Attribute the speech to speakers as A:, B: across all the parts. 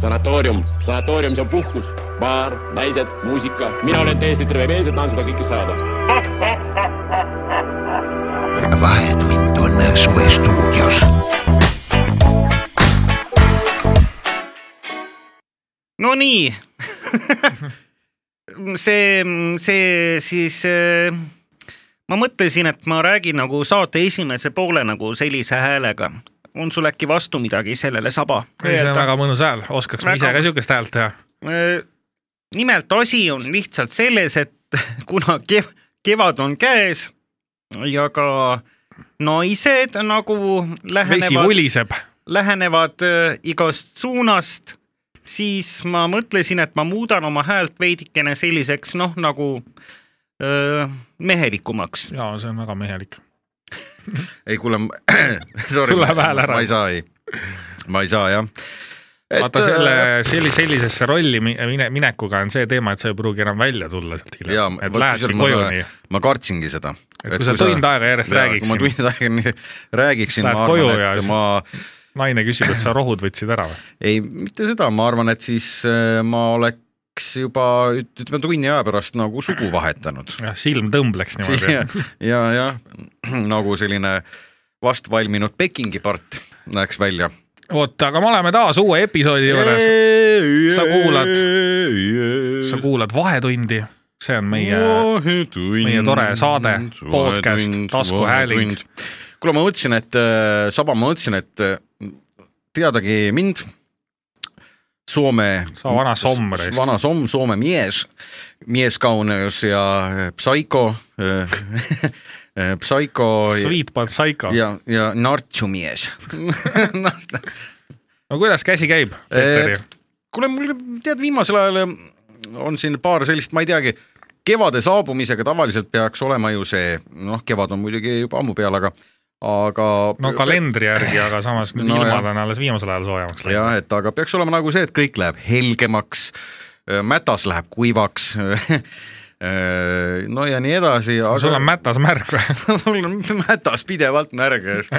A: sanatoorium , sanatoorium , see on puhkus , baar , naised , muusika , mina olen täiesti terve mees ja tahan seda kõike saada
B: vahetund on suvestuudios .
C: no nii . see , see siis , ma mõtlesin , et ma räägin nagu saate esimese poole nagu sellise häälega . on sul äkki vastu midagi sellele saba ?
D: ei , see on väga mõnus hääl , oskaks ma
C: Väga
D: ise ka
C: mõnus.
D: siukest häält teha .
C: Äh, nimelt asi on lihtsalt selles , et kuna kev kevad on käes ja ka naised nagu
D: vesi
C: lähenevad ,
D: vuliseb .
C: lähenevad äh, igast suunast , siis ma mõtlesin , et ma muudan oma häält veidikene selliseks noh , nagu öö, mehelikumaks .
D: jaa , see on väga mehelik .
E: ei kuule , sorry .
D: Sul läheb hääl ära.
E: ma ei saa , ei . ma ei saa jah . äh,
D: vaata selle , selli- , sellisesse rolli mi- mine- , minekuga on see teema , et sa ei pruugi enam välja tulla sealt
E: jaa
D: hiljem ., et lähedki koju nii .
E: ma kartsingi seda .
D: kui sa tund aega järjest räägiksid.
E: kui ma tund aega nii- räägiksin ,
D: Lähed
E: ma
D: koju
E: arvan ,
D: ja
E: et
D: siis-
E: ma ,
D: naine küsib , et sa rohud võtsid ära või ?
E: ei , mitte seda , ma arvan , et siis äh, ma oleks juba üt- ütleme tunni aja pärast nagu sugu vahetanud .
D: jah , silm tõmbleks niimoodi
E: ja , ja, ja nagu selline vastvalminud Pekingi part läheks välja .
D: vot , aga me oleme taas uue episoodi juures . sa kuulad- sa kuulad Vahetundi , see on meie , meie tore saade, podcast, taskuhääling. .
E: kuule , ma mõtlesin , et äh, Saba , ma mõtlesin , et äh, teadagi mind , Soome .
D: Sa vana somm raisk.
E: vana somm , Soome mies , mieskauneus ja äh, psaiko , psaiko
D: Sweet but psycho .
E: ja , ja Noh, nartsumies
D: no kuidas käsi käib , Peeteri ?
E: kuule , mul tead , viimasel ajal äh, on siin paar sellist , ma ei teagi , kevade saabumisega tavaliselt peaks olema ju see , noh , kevad on muidugi juba ammu peal , aga , aga
D: no kalendri järgi , aga samas nüüd
E: No
D: no, ilmad
E: jah.
D: on alles viimasel ajal soojemaks läinud .
E: jah , et aga peaks olema nagu see , et kõik läheb helgemaks , mätas läheb kuivaks äh, no ja nii edasi , aga
D: sul on mätas märk või ?
E: mul on mätas pidevalt märg ees .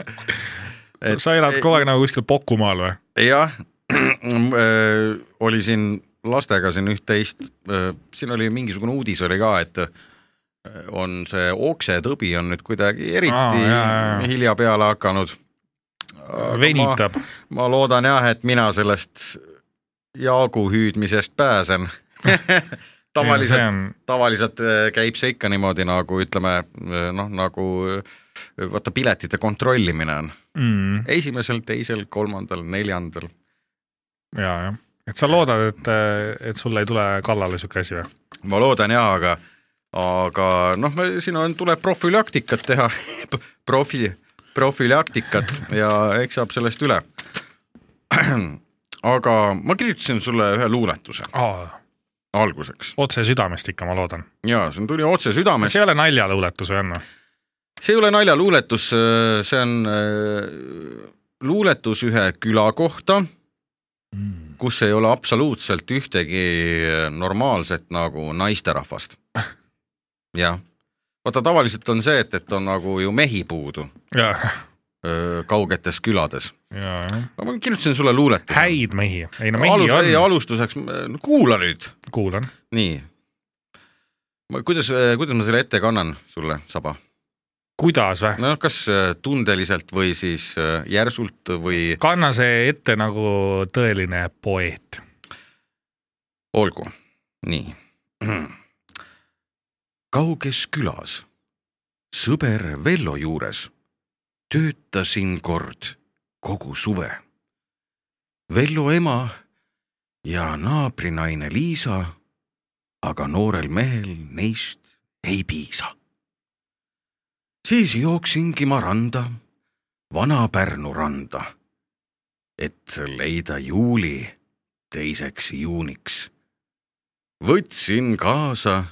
E: Et-
D: sa elad kogu aeg nagu kuskil Pokumaal või ?
E: jah , oli siin lastega siin üht-teist , siin oli mingisugune uudis oli ka , et öö, on see oksetõbi on nüüd kuidagi
D: Aa,
E: eriti
D: jaa,
E: ah,
D: jaa, jaa.
E: hilja peale hakanud .
D: venitab .
E: ma, ma loodan jah , et mina sellest jaagu hüüdmisest pääsen . tavaliselt
D: see on ,
E: tavaliselt äh, käib see ikka niimoodi nagu ütleme äh, noh , nagu äh, vaata piletite kontrollimine on
D: mm,
E: esimesel , teisel , kolmandal , neljandal .
D: ja , jah . et sa loodad , et , et sul ei tule kallale sihuke asi või ?
E: ma loodan jaa , aga , aga noh , siin on , tuleb profülaktikat teha , profi , profülaktikat ja eks saab sellest üle . aga ma kirjutasin sulle ühe luuletuse alguseks
D: otse südamest ikka , ma loodan .
E: ja see tuli otse
D: see
E: südamest
D: ei , ole naljaluuletus või on noh? või ?
E: see ei ole naljaluuletus , see on äh, luuletus ühe küla kohta ,
D: Mm.
E: kus ei ole absoluutselt ühtegi äh, normaalset nagu naisterahvast . jah , vaata tavaliselt on see , et , et on nagu ju mehi puudu
D: ja ,
E: öö, kaugetes külades .
D: ja , jah .
E: ma kirjutasin sulle luuletuse .
D: häid mehi , ei no mehi
E: Alus,
D: Alus,
E: ei,
D: on ,
E: alustuseks , kuula nüüd ,
D: kuulan .
E: nii . kuidas , kuidas ma selle ette kannan sulle , Saba ?
D: kuidas või ?
E: nojah , kas äh, tundeliselt või siis äh, järsult või
D: kanna see ette nagu tõeline poeet .
E: olgu , nii . kauges külas , sõber Vello juures , töötasin kord kogu suve . Vello ema ja naabrinaine Liisa , aga noorel mehel neist ei piisa . siis jooksingi ma randa , Vana-Pärnu randa , et leida juuli teiseks juuniks . võtsin kaasa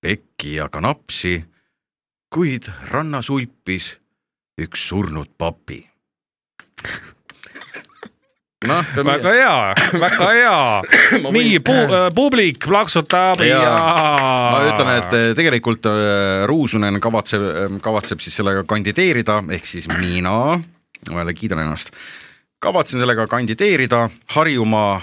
E: pekki ja kanapsi , kuid rannas ulpis üks surnud papi . noh ,
D: väga hea , väga hea . nii , pu- , publik plaksutab ja,
E: Jaa.
D: ja...
E: ma ütlen , et eh, tegelikult eh, Ruusunen kavatseb , kavatseb siis sellega kandideerida , ehk siis mina , ma jälle kiidan ennast , kavatsen sellega kandideerida Harjumaa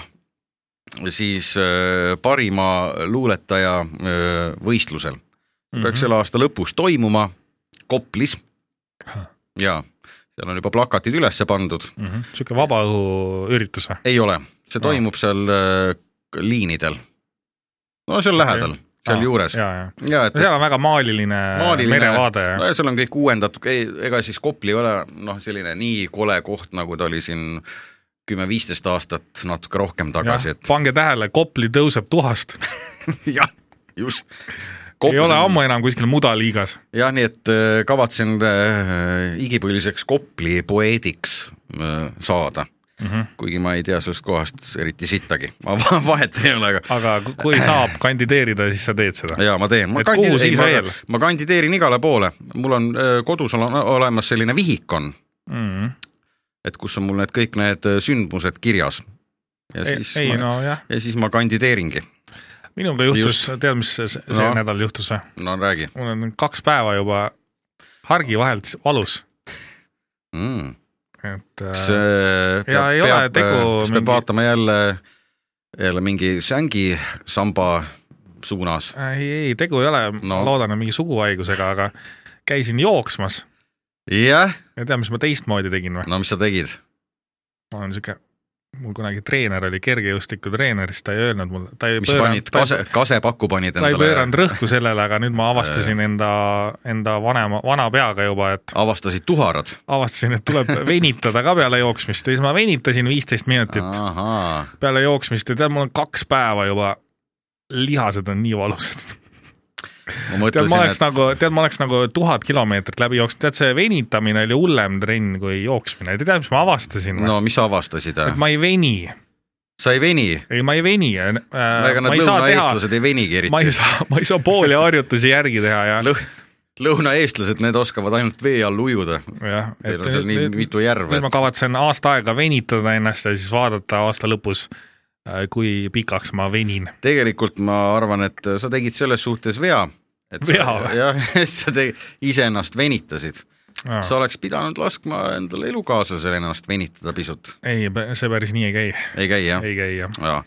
E: siis äh, parima luuletaja äh, võistlusel
D: Mhm.
E: peaks mm -hmm. selle aasta lõpus toimuma Koplis. ja seal on juba plakatid üles pandud,
D: sihuke vabaõhuüritus või ?
E: ei ole , see toimub seal äh, liinidel . no seal lähedal , sealjuures
D: ja , ja ,
E: ja et
D: no seal on väga maaliline, maaliline merevaade ja
E: no ja seal on kõik uuendatud , ega siis Kopli ei ole noh , selline nii kole koht , nagu ta oli siin kümme-viisteist aastat natuke rohkem tagasi , et
D: pange tähele , Kopli tõuseb tuhast .
E: jah , just .
D: ei ole ammu enam kuskil mudaliigas .
E: jah , nii et äh, kavatsen äh, igipõliseks Kopli poeediks äh, saada mm .
D: Mhm.
E: -hmm. kuigi ma ei tea sellest kohast eriti sittagi , ma va- vahet ei ole , aga
D: aga kui saab kandideerida , siis sa teed seda .
E: ja ma teen , ma
D: Et kuhu siis
E: kandideerin
D: veel? ,
E: ma kandideerin igale poole , mul on äh, kodus on olemas selline vihik on ,
D: Mhm.
E: et kus on mul need kõik need äh, sündmused kirjas . ja
D: ei ,
E: siis
D: ei
E: ma ,
D: nojah ,
E: ja siis ma kandideeringi ,
D: minuga juhtus
E: Just. ,
D: tead , mis see, see
E: No.
D: no. nädal juhtus või ?
E: no räägi
D: mul on kaks päeva juba hargi vahelt valus ,
E: mm. .
D: et
E: kas
D: äh,
E: äh,
D: ja ei ole tegu
E: kas peab
D: mingi-
E: mingi... vaatama jälle , jälle mingi sängi samba suunas ?
D: ei , ei tegu ei ole no.
E: No. ,
D: loodan , et mingi suguhaigusega , aga käisin jooksmas
E: jah ,
D: ja tea , mis ma teistmoodi tegin või ?
E: no mis sa tegid ?
D: ma olen sihuke , mul kunagi treener oli kergejõustikutreener , siis ta ei öelnud mulle , ta ei
E: mis panid ,
D: ta,
E: kase , kasepakku panid
D: ta ei
E: endale
D: pööranud ? rõhku sellele , aga nüüd ma avastasin enda , enda vanema , vana peaga juba , et
E: avastasid tuharad ?
D: avastasin , et tuleb venitada ka peale jooksmist ja siis ma venitasin viisteist minutit
E: ahaa ,
D: peale jooksmist ja tead , mul on kaks päeva juba lihased on nii valusad .
E: ma mõtlesin ,
D: tead , ma oleks
E: et
D: nagu , tead , ma oleks nagu tuhat kilomeetrit läbi jooksnud , tead , see venitamine oli hullem trenn kui jooksmine , tead , mis ma avastasin või no. ?
E: no mis sa avastasid ?
D: et ma ei veni ,
E: sa ei veni ?
D: ei , ma ei veni .
E: ega
D: ma
E: nad
D: ei saa teha ,
E: lõunaeestlased ei venigi
D: ma ei
E: eriti .
D: saa , ma ei saa pooli harjutusi järgi teha ja ,
E: Lõh- , lõunaeestlased , need oskavad ainult vee all ujuda .
D: jah .
E: Teil on seal nii mitu järve
D: nüüd ma , kavatsen aasta aega venitada ennast ja siis vaadata aasta lõpus , kui pikaks ma venin .
E: et tegelikult ma arvan , et sa tegid selles suhtes vea .
D: Vea või?
E: jah , et sa te- , iseennast venitasid .
D: Ah.
E: sa oleks pidanud laskma endale elukaaslasel ennast venitada pisut .
D: ei , see päris nii ei käi ,
E: ei käi jah ?
D: ei käi jah .
E: jaa .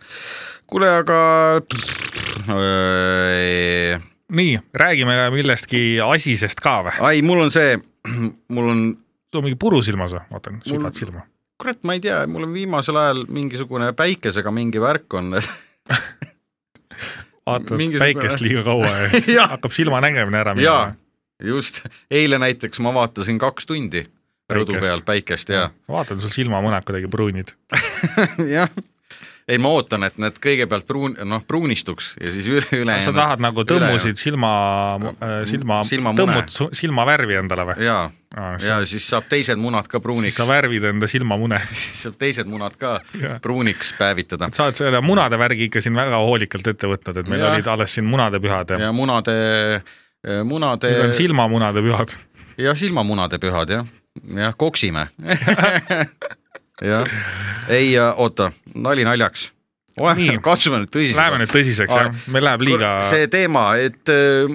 E: kuule , aga Öö,
D: nii , räägime millestki asisest ka või ?
E: ai , mul on see , mul on ,
D: sul on mingi puru silmas või ? vaatan , sügad silma .
E: kurat , ma ei tea , mul on viimasel ajal mingisugune päikesega mingi värk on .
D: vaatad
E: mingisugune-
D: päikest liiga kaua ja siis
E: Jah.
D: hakkab silmanägemine ära
E: jaa
D: minema .,
E: just , eile näiteks ma vaatasin kaks tundi rõdu
D: Päikest.
E: peal päikest ja ,
D: vaatan , sul silmamõnad kuidagi pruunid .
E: jah . ei , ma ootan , et need kõigepealt pruun , noh , pruunistuks ja siis üle , üle .
D: sa tahad nagu tõmmusid silma , silma,
E: silmamune.
D: tõmmud su- silmavärvi endale või ?
E: jaa , ja siis saab teised munad ka
D: siis
E: pruuniks
D: sa , värvid enda silmamune .
E: siis saab teised munad ka
D: Jaa.
E: pruuniks päevitada
D: sa oled selle munade värgi ikka siin väga hoolikalt ette võtnud , et meil
E: Jah.
D: olid alles siin munadepühad ja
E: ja munade , munade
D: nüüd on silmamunadepühad .
E: ja silmamunade pühad jah , jah koksime . jah , ei äh, oota , nali naljaks .
D: Nii.
E: katsume nüüd tõsiselt .
D: Läheme nüüd tõsiseks
E: Aa,
D: jah , meil läheb liiga .
E: see teema , et äh,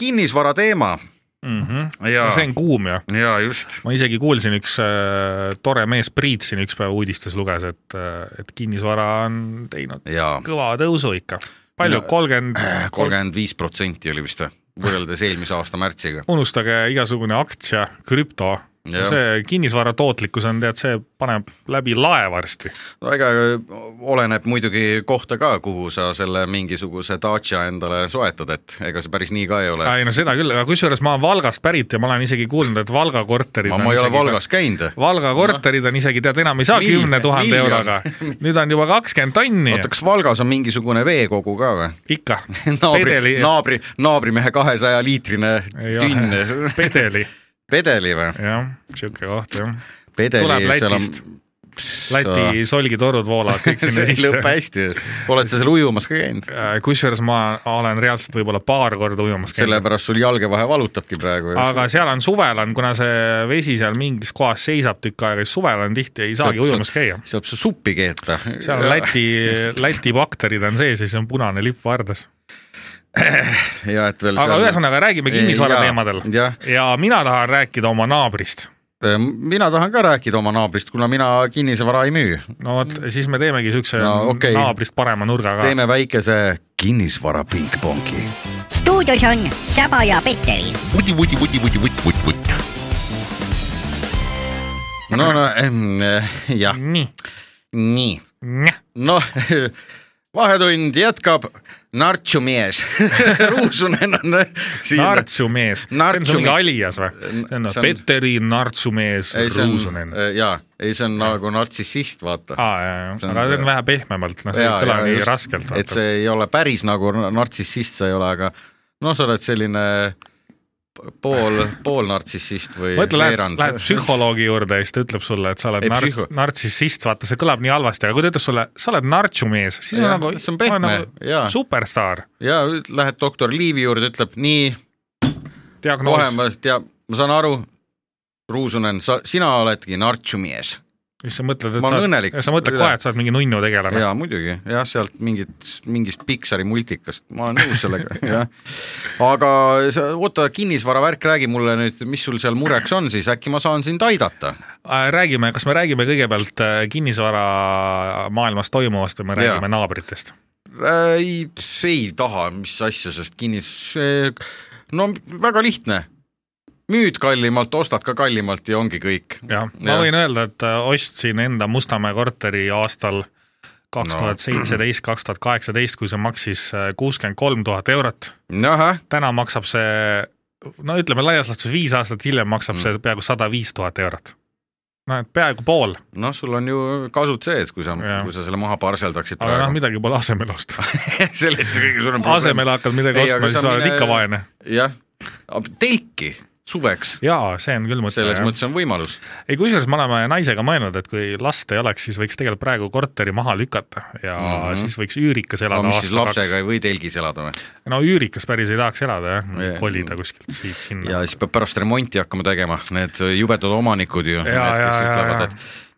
E: kinnisvara teema
D: Mm -hmm.
E: ja
D: no see , on kuum ju ,
E: ja just ,
D: ma isegi kuulsin , üks äh, tore mees Priit siin üks päev uudistes luges , et , et kinnisvara on teinud
E: ja
D: kõva tõusu ikka . palju
E: No- ,
D: kolmkümmend ,
E: kolmkümmend viis protsenti oli vist või , võrreldes eelmise aasta märtsiga .
D: unustage igasugune aktsia , krüpto ,
E: Jah.
D: see kinnisvara tootlikkus on tead , see paneb läbi lae varsti .
E: no ega eh, oleneb muidugi kohta ka , kuhu sa selle mingisuguse Dacia endale soetad , et ega see päris nii ka ei ole .
D: ei no seda küll , aga kusjuures ma olen Valgast pärit ja ma olen isegi kuulnud , et Valga korterid
E: ma , ma ei ole
D: isegi-
E: Valgas käinud Noh.
D: Valga korterid on isegi tead , enam ei saa
E: Miljon-
D: kümne tuhande
E: miljon.
D: euroga , nüüd on juba kakskümmend tonni
E: oota , kas Valgas on mingisugune veekogu ka või ?
D: ikka
E: naabri ,
D: Pedeli ,
E: naabri , naabrimehe kahesaja liitrine
D: Ei
E: tünn
D: ole. pedeli ,
E: pedeli või ?
D: jah , sihuke koht jah . tuleb
E: pedeli , seal on ,
D: Lätist , Läti solgitorud voolavad kõik
E: see
D: sinna
E: ei lõpe
D: sisse .
E: hästi . oled sa seal ujumas ka käinud ?
D: kusjuures ma olen reaalselt võib-olla paar korda ujumas käinud ,
E: sellepärast sul jalge vahe valutabki praegu .
D: aga seal on suvel on , kuna see vesi seal mingis kohas seisab tükk aega , siis suvel on tihti ei saagi
E: Seal- seal-
D: ujumas käia .
E: saab sa suppi keeta .
D: seal on . Läti , Läti bakterid on sees ja siis on punane lipp vardas .
E: ja et veel
D: aga . ühesõnaga , räägime kinnisvara teemadel .
E: jah ,
D: ja mina tahan rääkida oma naabrist
E: Ehm, mina tahan ka rääkida oma naabrist , kuna mina kinnisvara ei müü .
D: no vot , siis me teemegi siukse
E: No
D: no,
E: okei.
D: okay. naabrist parema nurga ka .
E: teeme väikese kinnisvara pingpongi .
F: stuudios on Saba ja Peteril .
B: vuti , vuti , vuti , vuti , vutt , vutt , vutt .
E: no, no ehm, jah ,
D: nii ,
E: nii ,
D: nii ,
E: noh vahetund jätkab , nartsu mees Ruusunen on eh, siin .
D: Nartsu mees , see on
E: Nartsu
D: mingi
E: mees.
D: alias või ? see on
E: See on-
D: Peteri Nartsu mees
E: ei , see
D: Ruusunen
E: on . jaa , ei , see on nagu nartsissist , vaata .
D: aa , jaa ,
E: see
D: jaa ,
E: on-
D: aga see on vähe pehmemalt , noh , see ei kõla nii raskelt ,
E: et
D: vaata .
E: see ei ole päris nagu nartsissist sa ei ole , aga noh , sa oled selline pool , pool nartsissist või
D: mõtle , lähed ,
E: veerand.
D: lähed psühholoogi juurde ja siis ta ütleb sulle , et sa oled
E: Ei,
D: narts-
E: psühho- ,
D: nartsissist , vaata , see kõlab nii halvasti , aga kui ta ütleb sulle , sa oled nartsumees , siis on
E: Jah,
D: nagu ,
E: see on pehme, jaa.
D: superstaar ,
E: ja lähed doktor Liivi juurde , ütleb nii , kohe
D: diagnoos ,
E: ma tean , ma saan aru , Ruusunen , sa , sina oledki nartsumees .
D: siis sa mõtled ,
E: ma
D: et
E: olen
D: sa
E: õnnelik
D: oled , sa mõtled
E: üle.
D: kohe , et sa oled mingi nunnu tegelane .
E: jaa , muidugi , jah , sealt mingit , mingist Piksari multikast , ma olen nõus sellega , jah . aga sa , oota , kinnisvaravärk , räägi mulle nüüd , mis sul seal mureks on siis , äkki ma saan sind aidata ?
D: Äh, räägime , kas me räägime kõigepealt äh, kinnisvaramaailmas toimuvast või me
E: Jaa.
D: räägime naabritest ?
E: Äh, ei , ei taha , mis asja , sest kinnis , no väga lihtne . müüd kallimalt , ostad ka kallimalt ja ongi kõik .
D: jah , ma
E: Jah.
D: võin öelda , et äh, ostsin enda Mustamäe korteri aastal kaks tuhat seitseteist , kaks tuhat kaheksateist , kui see maksis äh, kuuskümmend kolm tuhat eurot .
E: ahah ,
D: täna maksab see , no ütleme laias laastus viis aastat hiljem maksab
E: Mm.
D: see peaaegu sada viis tuhat eurot . no et peaaegu pool ,
E: noh , sul on ju kasud sees , kui sa ,
D: Jah.
E: kui sa selle maha parseldaksid
D: aga noh ,
E: praegu .
D: midagi pole asemele osta .
E: selles kõige suurem probleem .
D: asemele hakkad midagi
E: Ei,
D: ostma ,
E: aga
D: siis
E: see on
D: sa oled
E: mine-
D: ikka vaene .
E: jah , telki suveks ,
D: jaa , see on küll mõte
E: selles . mõttes on võimalus .
D: ei , kusjuures me oleme naisega mõelnud , et kui last ei oleks , siis võiks tegelikult praegu korteri maha lükata ja mm
E: Mhm.
D: -hmm. siis võiks üürikas
E: aga
D: elada
E: mis siis
D: aasta-kaks
E: lapsega . ei või telgis elada või ?
D: no üürikas päris ei tahaks elada jah
E: Jaa. ,
D: kolida kuskilt siit-sinna
E: ja . siis peab pärast remonti hakkama tegema , need jubedad omanikud ju .
D: Jaa, jaa, jaa, jaa.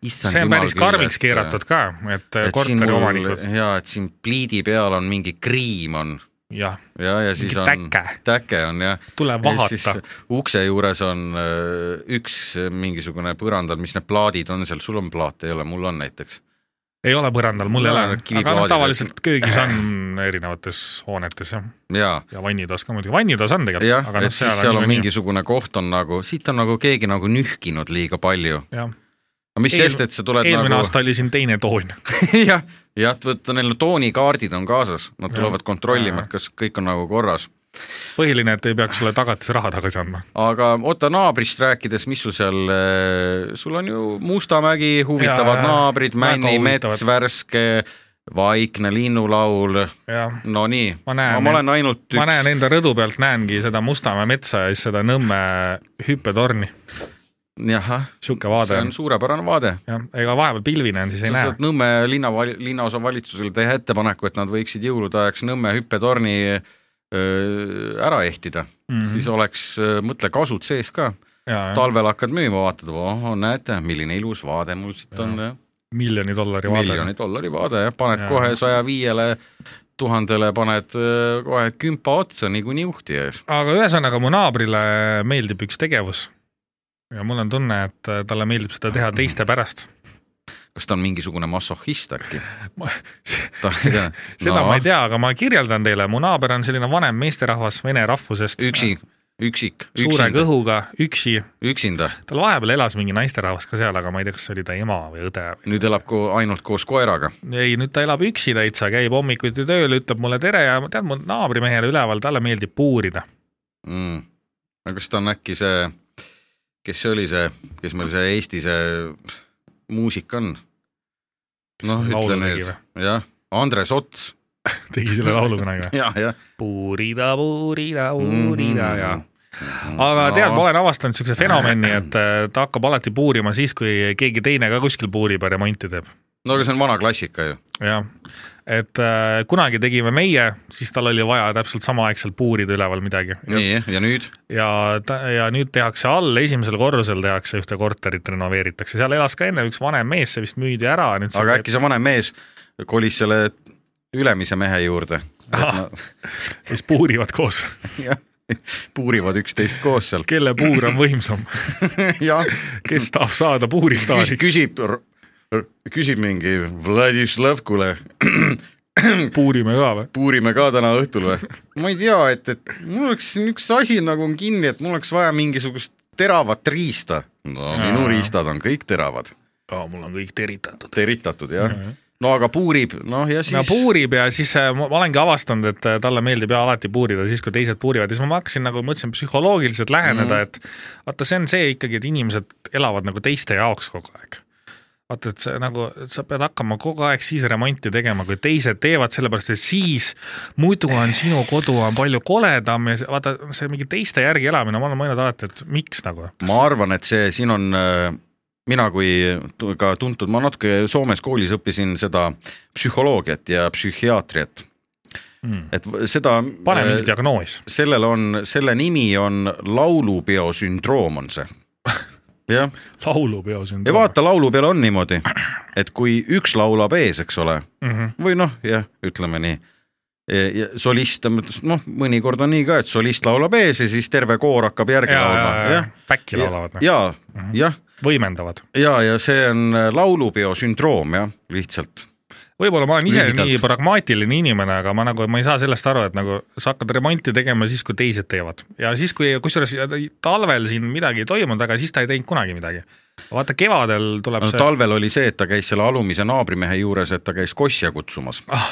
D: see on päris karmiks keeratud ka , et
E: äh, et siin
D: korteri
E: mul
D: omanikud ,
E: jaa , et siin pliidi peal on mingi kriim on
D: jah ,
E: ja , ja siis
D: Mingi
E: on
D: täke.
E: täke on jah .
D: Tule vahata. .
E: ukse juures on öö, üks mingisugune põrandal , mis need plaadid on seal , sul on plaate , ei ole , mul on näiteks .
D: ei ole põrandal , mul ei
E: Mul
D: ole
E: on ,
D: aga
E: kiviplaadid,
D: noh ,
E: et-
D: tavaliselt köögis on erinevates hoonetes jah ,
E: jaa ,
D: ja vannitoas ka muidugi , vannitoas on tegelikult ,
E: jah
D: aga , noh ,
E: et siis
D: seal
E: seal on
D: on niikuinii ,
E: mingisugune koht on nagu , siit on nagu keegi nagu nühkinud liiga palju .
D: jah .
E: aga mis
D: Eel-
E: sest , et sa tuled
D: eelmine
E: nagu
D: aasta oli siin teine toon ,
E: jah , jah , võtta neil toonikaardid on kaasas , nad
D: Jah.
E: tulevad kontrollima , et kas kõik on nagu korras .
D: põhiline , et ei peaks sulle tagatisraha tagasi andma .
E: aga oota , naabrist rääkides , mis sul seal , sul on ju Mustamägi , huvitavad
D: Jaa,
E: ja,
D: jaa.
E: naabrid ,
D: Väga
E: Männi mets
D: huvitavad. ,
E: värske , vaikne linnulaul ,
D: jah
E: no nii ,
D: Ma
E: ma,
D: näen,
E: ma olen ainult
D: ma näen
E: üks ,
D: enda rõdu pealt , näengi seda Mustamäe metsa ja siis seda Nõmme hüppetorni ,
E: ahah ,
D: sihuke
E: see
D: vaade on
E: on . suurepärane vaade .
D: jah , ega vahepeal pilvine on , siis ei
E: sa
D: näe
E: saad . Nõmme linna , linnaosavalitsusele teha ettepaneku , et nad võiksid jõulude ajaks Nõmme hüppetorni öö, ära ehtida mm ,
D: Mhm.
E: -hmm. siis oleks , mõtle , kasud sees ka talvel hakkad müüma , vaatad , oh näete , milline ilus vaade mul siit on ,
D: miljoni dollari vaade
E: miljoni . dollari vaade ja paned
D: Jaa.
E: ja. kohe saja viiele tuhandele paned öö, kohe kümpa otsa niikuinii juhti ees .
D: aga ühesõnaga , mu naabrile meeldib üks tegevus ja mul on tunne , et äh, talle meeldib seda teha teiste pärast .
E: kas ta on mingisugune massohhist äkki ? Noh,
D: seda seda no. ma ei tea , aga ma kirjeldan teile , mu naaber on selline vanem meesterahvas vene rahvusest .
E: üksi , üksik ,
D: suure
E: üksinda ,
D: kõhuga , üksi ,
E: üksinda ,
D: tal vahepeal elas mingi naisterahvas ka seal , aga ma ei tea , kas see oli ta ema või õde või
E: nüüd elab ko ainult koos koeraga .
D: ei , nüüd ta elab üksi täitsa , käib hommikuti tööl , ütleb mulle tere ja ma tean , mu naabrimehele üleval , talle meeldib puurida .
E: mm. . aga kas ta on äkki see , kes see oli see , kes meil see Eesti see muusik on ? noh , ütle
D: laulu tegi
E: nüüd , jah , Andres Ots
D: tegi selle laulu kunagi või ?
E: ja, , jah , jah .
D: puurida , puurida , puurida ja .
G: Mm.
D: aga tead , ma olen avastanud siukse fenomeni , et äh, ta hakkab alati puurima siis , kui keegi teine ka kuskil puurib ja remonti teeb .
E: no aga see on vana klassika ju .
D: jah , et äh, kunagi tegime meie , siis tal oli vaja täpselt samaaegselt puurida üleval midagi
E: nii , ja nüüd
D: ja ta ja nüüd tehakse all , esimesel korrusel tehakse ühte korterit , renoveeritakse , seal elas ka enne üks vanem mees , see vist müüdi ära .
E: aga äkki see vanem mees kolis selle ülemise mehe juurde .
D: siis puurivad koos .
E: jah , puurivad üksteist koos seal .
D: kelle puur on võimsam ,
E: jah ,
D: kes tahab saada puuristaariks ,
E: küsib , küsib mingi Vladislav , kuule ,
D: puurime ka või ?
E: puurime ka täna õhtul või ? ma ei tea , et , et mul oleks siin üks asi nagu on kinni , et mul oleks vaja mingisugust teravat riista . no minu
D: Aa.
E: riistad on kõik teravad ,
G: aa , mul on kõik teritatud .
E: teritatud jah . no aga puurib , noh ja
D: Mhm.
E: siis
D: no
E: no, .
D: puurib ja siis äh, ma ma olengi avastanud , et äh, talle meeldib ja alati puurida siis , kui teised puurivad ja siis ma hakkasin nagu mõtlesin psühholoogiliselt
E: Mhm.
D: läheneda mm , -hmm. et vaata , see on see ikkagi , et inimesed elavad nagu teiste jaoks kogu aeg . vaata , et see nagu , sa pead hakkama kogu aeg siis remonti tegema , kui teised teevad , sellepärast et siis muidu on sinu kodu on palju koledam ja see- vaata , see mingi teiste järgi elamine , ma olen mõelnud alati , et miks nagu .
E: ma arvan , et see siin on , mina kui tu- ka tuntud , ma natuke Soomes koolis õppisin seda psühholoogiat ja psühhiaatriat ,
D: Mm.
E: et v- seda .
D: pane mingi diagnoos .
E: sellel on , selle nimi on laulupeo sündroom on see . jah
D: laulupeo
E: ja
D: sündroom .
E: vaata , laulupeol on niimoodi , et kui üks laulab ees , eks ole ,
D: Mhm.
E: või noh , jah , ütleme nii , solist , noh , mõnikord on nii ka , et solist laulab ees ja siis terve koor hakkab järgi laulma , jah .
D: päkki laulavad , noh. Mhm.
E: ja , jah ,
D: võimendavad .
E: ja , ja see on äh, laulupeo sündroom jah , lihtsalt .
D: võib-olla ma olen ise
E: Lühidalt.
D: Lühidalt. nii pragmaatiline inimene , aga ma nagu , ma ei saa sellest aru , et nagu sa hakkad remonti tegema siis , kui teised teevad ja siis , kui kusjuures talvel siin midagi ei toimunud , aga siis ta ei teinud kunagi midagi . vaata kevadel tuleb
E: No,
D: see ,
E: talvel oli see , et ta käis selle alumise naabrimehe juures , et ta käis kosja kutsumas
D: Ah,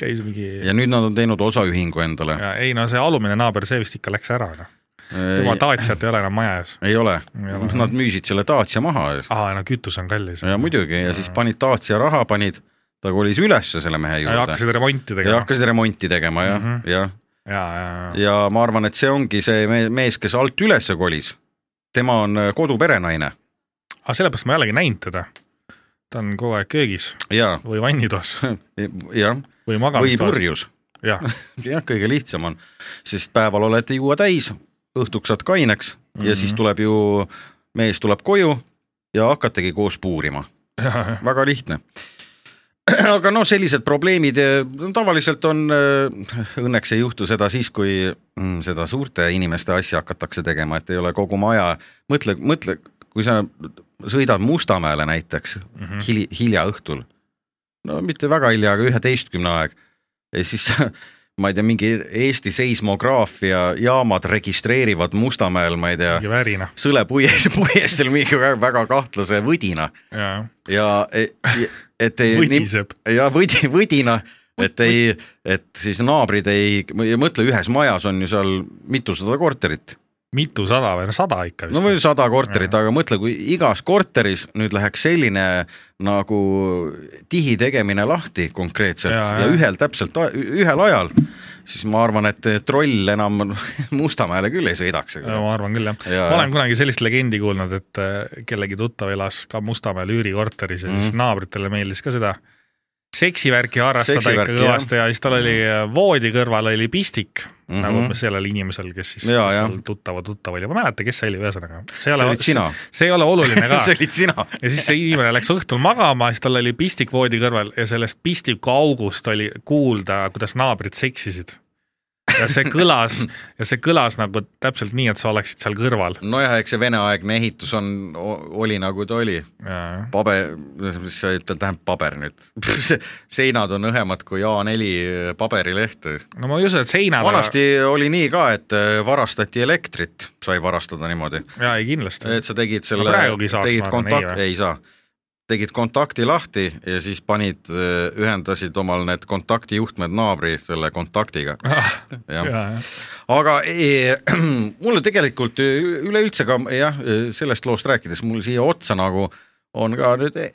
D: käis mingi
E: ja nüüd nad on teinud osaühingu endale .
D: ja ei no see alumine naaber , see vist ikka läks ära , noh . tema taatsijat ei ole enam maja ees .
E: Äh, ei ole Noh,
D: Ei ole. ,
E: nad müüsid selle Dacia maha
D: aa , no kütus on kallis .
E: ja muidugi ja siis panid Dacia raha , panid , ta kolis ülesse selle mehe
D: ja
E: juurde
D: hakkasid remonti
E: ja
D: tegema .
E: hakkasid remonti tegema jah mm ,
D: Mhm.
E: -hmm. jah ,
D: ja , ja , ja .
E: ja ma arvan , et see ongi see me- mees , kes alt ülesse kolis . tema on äh, koduperenaine
D: aga sellepärast ma ei olegi näinud teda . ta on kogu aeg köögis
E: ja ,
D: või vannitoas
E: jah ,
D: või
E: või
D: magamistoas .
E: purjus ,
D: jah ,
E: jah , kõige lihtsam on , sest päeval oled juua täis , õhtuks saad kaineks mm -hmm. ja siis tuleb ju , mees tuleb koju ja hakategi koos puurima
D: jah ,
E: väga lihtne . aga noh , sellised probleemid eh, tavaliselt on , õnneks ei juhtu seda siis , kui mm, seda suurte inimeste asja hakatakse tegema , et ei ole kogu maja , mõtle , mõtle , kui sa sõidad Mustamäele näiteks mm
D: Mhm.
E: -hmm. hili, hilja õhtul , no mitte väga hilja , aga üheteistkümne aeg , ja siis ma ei tea , mingi Eesti seismograafia jaamad registreerivad Mustamäel , ma ei tea ,
D: mingi värina .
E: sõlepuies , puiestel mingi väga- väga kahtlase võdina
D: jaa ,
E: ja e- ja- et ei ,
D: võdiseb .
E: ja võdi , võdina , et ei , et siis naabrid ei , mõtle ühes majas on ju seal mitusada korterit ,
D: mitusada või no sada ikka vist
E: no või
D: no, .
E: sada korterit , aga mõtle , kui igas korteris nüüd läheks selline nagu tihi tegemine lahti konkreetselt ja,
D: Jaa,
E: ja
D: jah.
E: ühel täpselt , ühel ajal , siis ma arvan , et troll enam Mustamäele küll ei sõidaks . noh.
D: ma arvan küll jah
E: Jaa,
D: ja, , ma
E: jah.
D: olen kunagi sellist legendi kuulnud , et äh, kellegi tuttav elas ka Mustamäel üürikorteris ja mm.
E: Mhm.
D: siis naabritele meeldis ka seda seksivärki harrastada
E: Seksivärki,
D: ikka kõvasti ja siis tal oli äh, voodi kõrval oli pistik mm ,
E: Mhm.
D: -hmm. nagu sellel inimesel , kes siis
E: Jaa, jah.
D: seal tuttava tuttav oli , ma ei mäleta , kes see oli , ühesõnaga . see
E: olid sina.
D: see ei ole oluline ka
E: see olid sina .
D: ja siis see inimene läks õhtul magama , siis tal oli pistik voodi kõrval ja sellest pistiku august oli kuulda , kuidas naabrid seksisid . ja see kõlas ja see kõlas nagu täpselt nii , et sa oleksid seal kõrval .
E: nojah , eks see veneaegne ehitus on , oli nagu ta oli paber , mis see ütleb , tähendab paber nüüd , seinad on õhemad kui A4 paberileht .
D: no ma ei usu , et seina
E: vanasti oli nii ka , et äh, varastati elektrit , sai varastada niimoodi ,
D: jaa , ei kindlasti .
E: et sa tegid selle ,
D: praegugi saaks,
E: tegid
D: ma arvan,
E: kontakt ,
D: ei
E: ei saa , tegid kontakti lahti ja siis panid , ühendasid omal need kontaktijuhtmed naabri selle kontaktiga . jah , aga eh, mulle tegelikult e, üleüldse ka jah , sellest loost rääkides mul siia otsa nagu on ka nüüd e,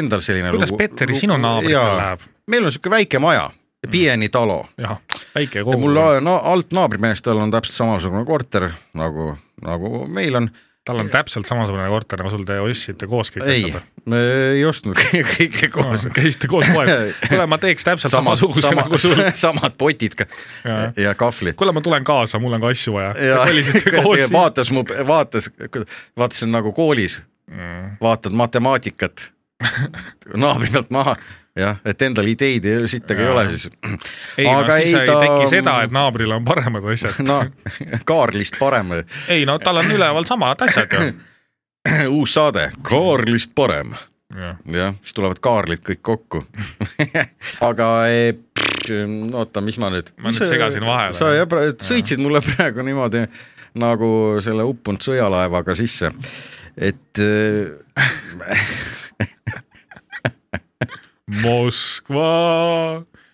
E: endal selline
D: kuidas
E: lugu .
D: Petteri , sinu naabritel läheb ?
E: meil on niisugune väike maja , Pieni talo
D: jah , väike
E: ja
D: kogu .
E: mul a- na, alt naabrimehestel on täpselt samasugune korter nagu , nagu meil on .
D: tal on täpselt samasugune korter nagu sul , te ostsite koos kõik
E: ei
D: asjad ,
E: me ei ostnud kõike koos .
D: käisite koos poes , kuule , ma teeks täpselt samasuguse nagu sul .
E: samad potid ka ja,
D: Jaa.
E: ja kahvlid .
D: kuule , ma tulen kaasa , mul on ka asju vaja .
E: ja
D: kolisite koos siis .
E: Mm. vaatas mu , vaatas , vaatasin nagu koolis , vaatad matemaatikat naabrinalt maha , jah , et endal ideid ja sittagi ei ole , siis
D: ei ,
E: Aga
D: no siis
E: ei,
D: ei, ei
E: ta-
D: teki seda , et naabril on paremad asjad .
E: no Kaarlist parem ,
D: ei no tal on üleval samad asjad ju .
E: uus saade , Kaarlist parem ,
D: jah ,
E: jah , siis tulevad Kaarlid kõik kokku . aga eh, pff, oota , mis ma nüüd .
D: Ma nüüd segasin vahele.
E: sa jah , sõitsid mulle praegu niimoodi nagu selle uppunud sõjalaevaga sisse , et eh,
D: Moskva .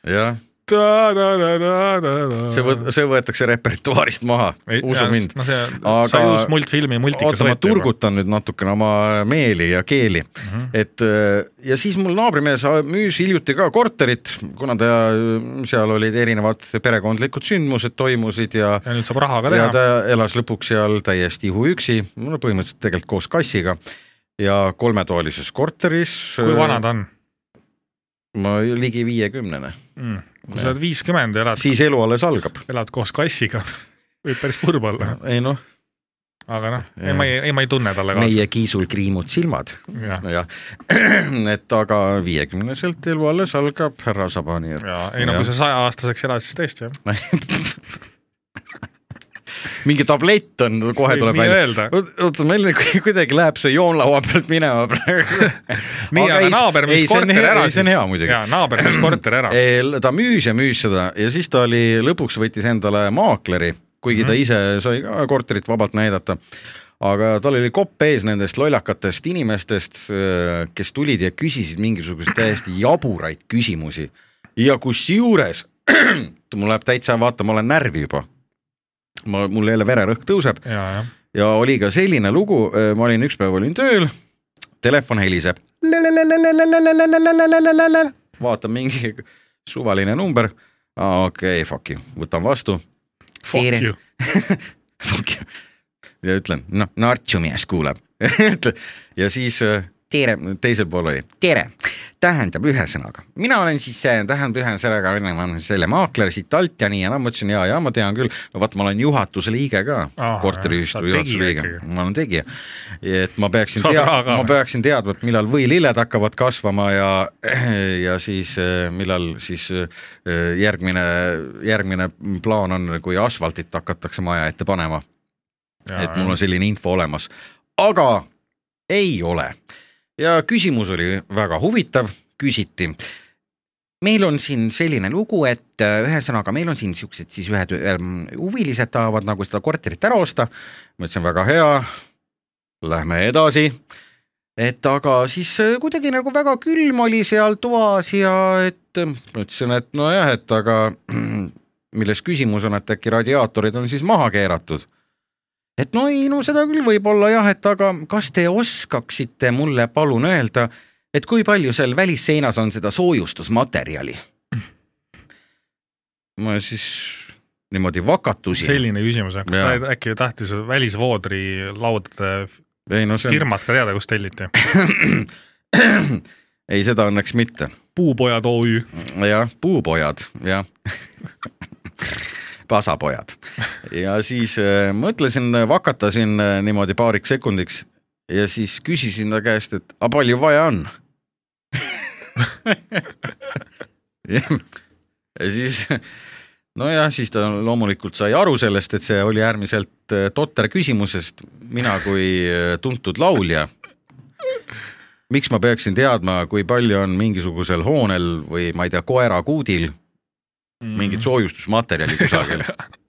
E: jah see võt- , see võetakse repertuaarist maha , usu mind .
D: no see aga... , sai uus multfilmi multikas
E: oota , ma . turgutan nüüd natukene oma meeli ja keeli mm , -hmm.
D: Mhm.
E: et äh, ja siis mul naabrimees äh, müüs hiljuti ka korterit , kuna ta äh, seal olid erinevad perekondlikud sündmused toimusid ja
D: ja nüüd saab raha ka
E: ja
D: teha
E: ta . elas lõpuks seal täiesti ihuüksi , no põhimõtteliselt tegelikult koos kassiga ja kolmetoalises korteris .
D: kui vana ta on
E: ma ligi viiekümnene ,
D: mm. ? kui sa oled viiskümmend ja elad ,
E: siis elu alles algab .
D: elad koos kassiga , võib päris kurb olla ,
E: ei noh ,
D: aga noh ,
E: Jah.
D: ei ma ei , ei ma ei tunne talle kaasa .
E: meie kiisul kriimud silmad
D: jah ,
E: jah , et aga viiekümneselt elu alles algab , härra Saba , nii et .
D: ja ei no kui sa sajaaastaseks elad , siis tõesti jah .
E: mingi tablett on , kohe
D: Võib
E: tuleb
D: nii
E: välja .
D: öelda.
E: oota , meil nüüd ku- kuidagi läheb see joonlaua pealt minema praegu .
D: nii , aga naaber müüs korteri ära
E: siis . see on hea muidugi .
D: jaa , naaber müüs korteri ära .
E: ta müüs ja müüs seda ja siis ta oli , lõpuks võttis endale maakleri , kuigi ta ise sai ka korterit vabalt näidata aga tal oli kopp ees nendest lollakatest inimestest , kes tulid ja küsisid mingisuguseid täiesti jaburaid küsimusi ja kusjuures mul läheb täitsa , vaata , ma olen närvi juba . ma , mul jälle vererõhk tõuseb
D: ja , jah .
E: ja oli ka selline lugu , ma olin üks päev olin tööl , telefon heliseb . vaatan mingi suvaline number , okei , fuck you , võtan vastu .
D: Fuck you .
E: Fuck you . ja ütlen , noh , Nartsu mees kuuleb . ja siis äh, tere , teisel pool oli tere , tähendab ühesõnaga , mina olen siis , tähendab ühesõnaga , ma olen selle maakler siit alt ja nii ja naa , ma ütlesin ja , ja ma tean küll , no vaat ma olen juhatuse liige ka
D: Aa, ,
E: korteriühistu
D: jah, sa tegija
E: juhatuse liige
D: ikkagi. ,
E: ma olen tegija . et ma peaksin
D: Saad , raha ka
E: ma
D: või?
E: peaksin teadma , et millal võililled hakkavad kasvama ja , ja siis äh, millal siis äh, järgmine , järgmine plaan on , kui asfaltit hakatakse maja ette panema et mul on selline info olemas , aga ei ole . ja küsimus oli väga huvitav , küsiti . meil on siin selline lugu , et äh, ühesõnaga meil on siin siuksed siis ühed ähm, huvilised tahavad nagu seda korterit ära osta . ma ütlesin väga hea , lähme edasi et aga siis äh, kuidagi nagu väga külm oli seal toas ja et äh, ma ütlesin , et nojah , et aga milles küsimus on , et äkki radiaatorid on siis maha keeratud . et no ei , no seda küll võib-olla jah , et aga kas te oskaksite mulle palun öelda , et kui palju seal välisseinas on seda soojustusmaterjali ? ma siis niimoodi vakatusin .
D: selline küsimus , kas ta
E: Jaa.
D: äkki tahtis välisvoodri laudade
E: ei no see on ,
D: firmat ka teada , kust telliti ?
E: ei seda õnneks mitte
D: puupojad OÜ .
E: jah , puupojad , jah . pasapojad ja siis äh, mõtlesin , vakatasin äh, niimoodi paariks sekundiks ja siis küsisin ta käest , et aga palju vaja on ? ja siis nojah , siis ta loomulikult sai aru sellest , et see oli äärmiselt äh, totter küsimus , sest mina kui äh, tuntud laulja miks ma peaksin teadma , kui palju on mingisugusel hoonel või ma ei tea , koerakuudil
D: Mm. Mhm.
E: mingit soojustusmaterjali kusagil .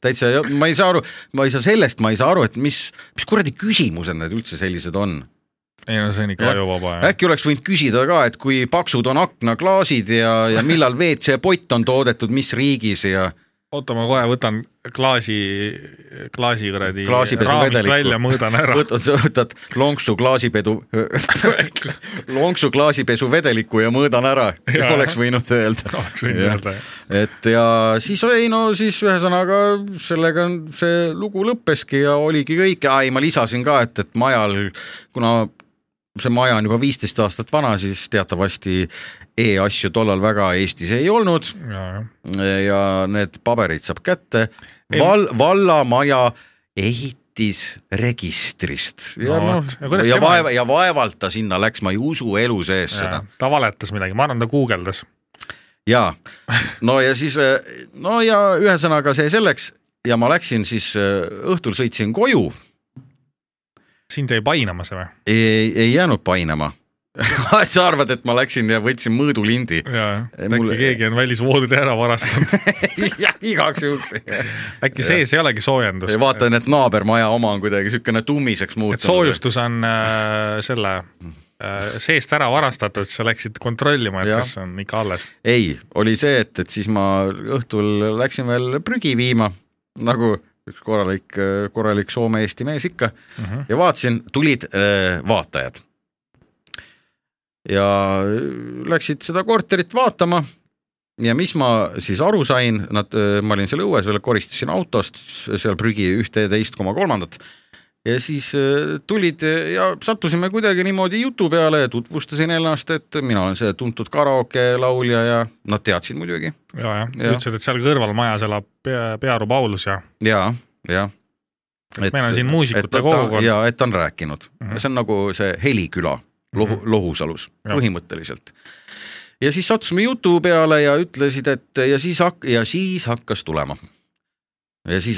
E: täitsa , ma ei saa aru , ma ei saa sellest , ma ei saa aru , et mis , mis kuradi küsimused need üldse sellised on .
D: ei no see on ikka
E: Jah.
D: ajuvaba jah .
E: äkki oleks võinud küsida ka , et kui paksud on aknaklaasid ja , ja millal WC-pott on toodetud , mis riigis ja
D: oota , ma kohe võtan klaasi , klaasi kuradi
E: Klaasipesu
D: raamist
E: vedeliku.
D: välja , mõõdan ära .
E: võtad , sa võtad lonksu klaasipedu , lonksu klaasipesu vedeliku ja mõõdan ära ,
D: Jaa.
E: oleks võinud öelda .
D: oleks võinud
E: Jah.
D: öelda .
E: et ja siis ei no siis ühesõnaga sellega on see lugu lõppeski ja oligi kõik , ei ma lisasin ka , et , et majal , kuna see maja on juba viisteist aastat vana , siis teatavasti e-asju tollal väga Eestis ei olnud ja need paberid saab kätte . Val- , vallamaja ehitis võitis registrist
D: No
E: ja noh
D: vot. Ja kuidas
E: ja
D: tema-
E: vaeva ja vaevalt ta sinna läks , ma ei usu elu sees seda
D: ta valetas midagi , ma arvan , ta guugeldas .
E: ja no ja siis eh, no ja ühesõnaga see selleks ja ma läksin siis eh, õhtul sõitsin koju ,
D: sind jäi painama see või ?
E: ei ei jäänud painama . sa arvad , et ma läksin ja võtsin mõõdulindi ?
D: jaa , äkki
E: Mul-
D: Mul... keegi on välisvoodid ära varastanud .
E: jah , igaks juhuks .
D: äkki sees ei olegi soojendust ?
E: vaatan , et naabermaja oma on kuidagi niisugune tummiseks
D: et
E: muutunud .
D: soojustus on äh, selle äh, seest ära varastatud , siis sa läksid kontrollima , et
E: Jah.
D: ja. kas on ikka alles .
E: ei , oli see , et , et siis ma õhtul läksin veel prügi viima , nagu üks korralik , korralik soome-eesti mees ikka mm -hmm. ja vaatasin , tulid äh, vaatajad . ja läksid seda korterit vaatama ja mis ma siis aru sain , nad , ma olin seal õues veel , koristasin autost seal prügi ühte ja teist koma kolmandat ja siis äh, tulid ja sattusime kuidagi niimoodi jutu peale ja tutvustasin ennast , et mina olen see tuntud karaokelaulja ja nad teadsid muidugi
D: ja , ja
E: Jah.
D: ütlesid , et seal kõrval majas elab pea , Pearu Paulus ja
E: ja , ja .
D: meil on siin muusikute kogukond.
E: ja et ta on rääkinud mm ,
D: Mhm.
E: -hmm. see on nagu see Heliküla lohu, mm -hmm. Lohusalus
D: Jah.
E: põhimõtteliselt . ja siis sattusime jutu peale ja ütlesid , et ja siis hak- ja siis hakkas tulema . ja siis ,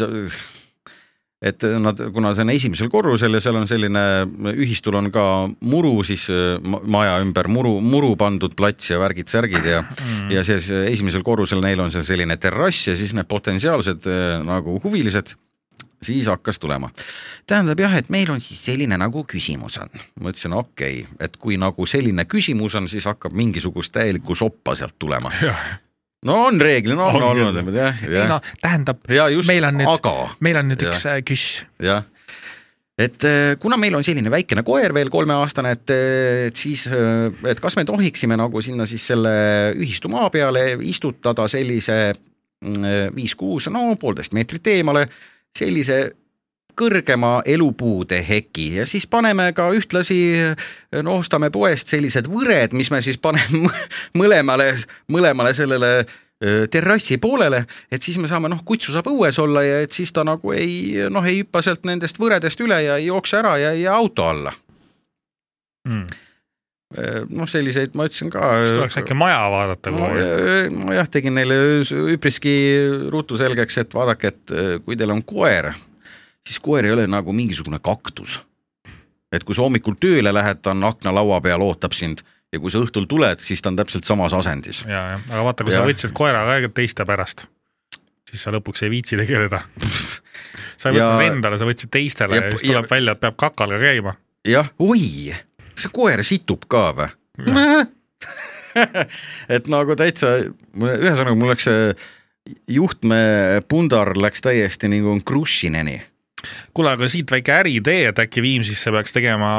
E: et nad , kuna see on esimesel korrusel ja seal on selline ühistul on ka muru siis ma- maja ümber muru , muru pandud plats ja värgid-särgid ja
D: mm. .
E: ja siis esimesel korrusel neil on seal selline terrass ja siis need potentsiaalsed eh, nagu huvilised , siis hakkas tulema . tähendab jah , et meil on siis selline nagu küsimus on . ma ütlesin okei okay, , et kui nagu selline küsimus on , siis hakkab mingisugust täielikku soppa sealt tulema . no on reeglina on,
D: On
E: on olnud
D: küll. ,
E: jah ,
D: ei no
E: jah .
D: tähendab ,
E: ja just ,
D: meil on nüüd-
E: aga
D: meil on nüüd
E: Jah.
D: üks äh, küss .
E: jah , et eh, kuna meil on selline väikene koer veel kolmeaastane , et , et siis , et kas me tohiksime nagu sinna siis selle ühistu maa peale istutada sellise mm, viis-kuus , no poolteist meetrit eemale , sellise kõrgema elupuude heki ja siis paneme ka ühtlasi , no ostame poest sellised võred , mis me siis paneme mõlemale , mõlemale sellele öö, terrassi poolele , et siis me saame noh , kutsu saab õues olla ja et siis ta nagu ei noh , ei hüppa sealt nendest võredest üle ja ei jookse ära ja ei jää auto alla .
D: Mm.
E: noh , selliseid ma ütlesin ka .
D: siis tuleks äkki maja vaadata
E: ma,
D: kohe .
E: ma Äh, jah , tegin neile öös- üpriski ruutu selgeks , et vaadake , et öö, kui teil on koer , siis koer ei ole nagu mingisugune kaktus . et kui sa hommikul tööle lähed , ta on aknalaua peal , ootab sind ja kui sa õhtul tuled , siis ta on täpselt samas asendis .
D: ja , ja , aga vaata , kui
E: Jah.
D: sa võtsid koera ka teiste pärast , siis sa lõpuks ei viitsi tegeleda . sa ei
E: Ja-
D: võtnud endale , sa võtsid teistele ja,
E: Ja-
D: ja siis tuleb
E: ja-
D: ja... välja , et peab kakal ka käima .
E: jah , oi , kas see koer situb ka või ? et nagu täitsa , ühesõnaga mul läks see juhtmepundar läks täiesti nagu krussineni .
D: kuule , aga siit väike äriidee , et äkki Viimsisse peaks tegema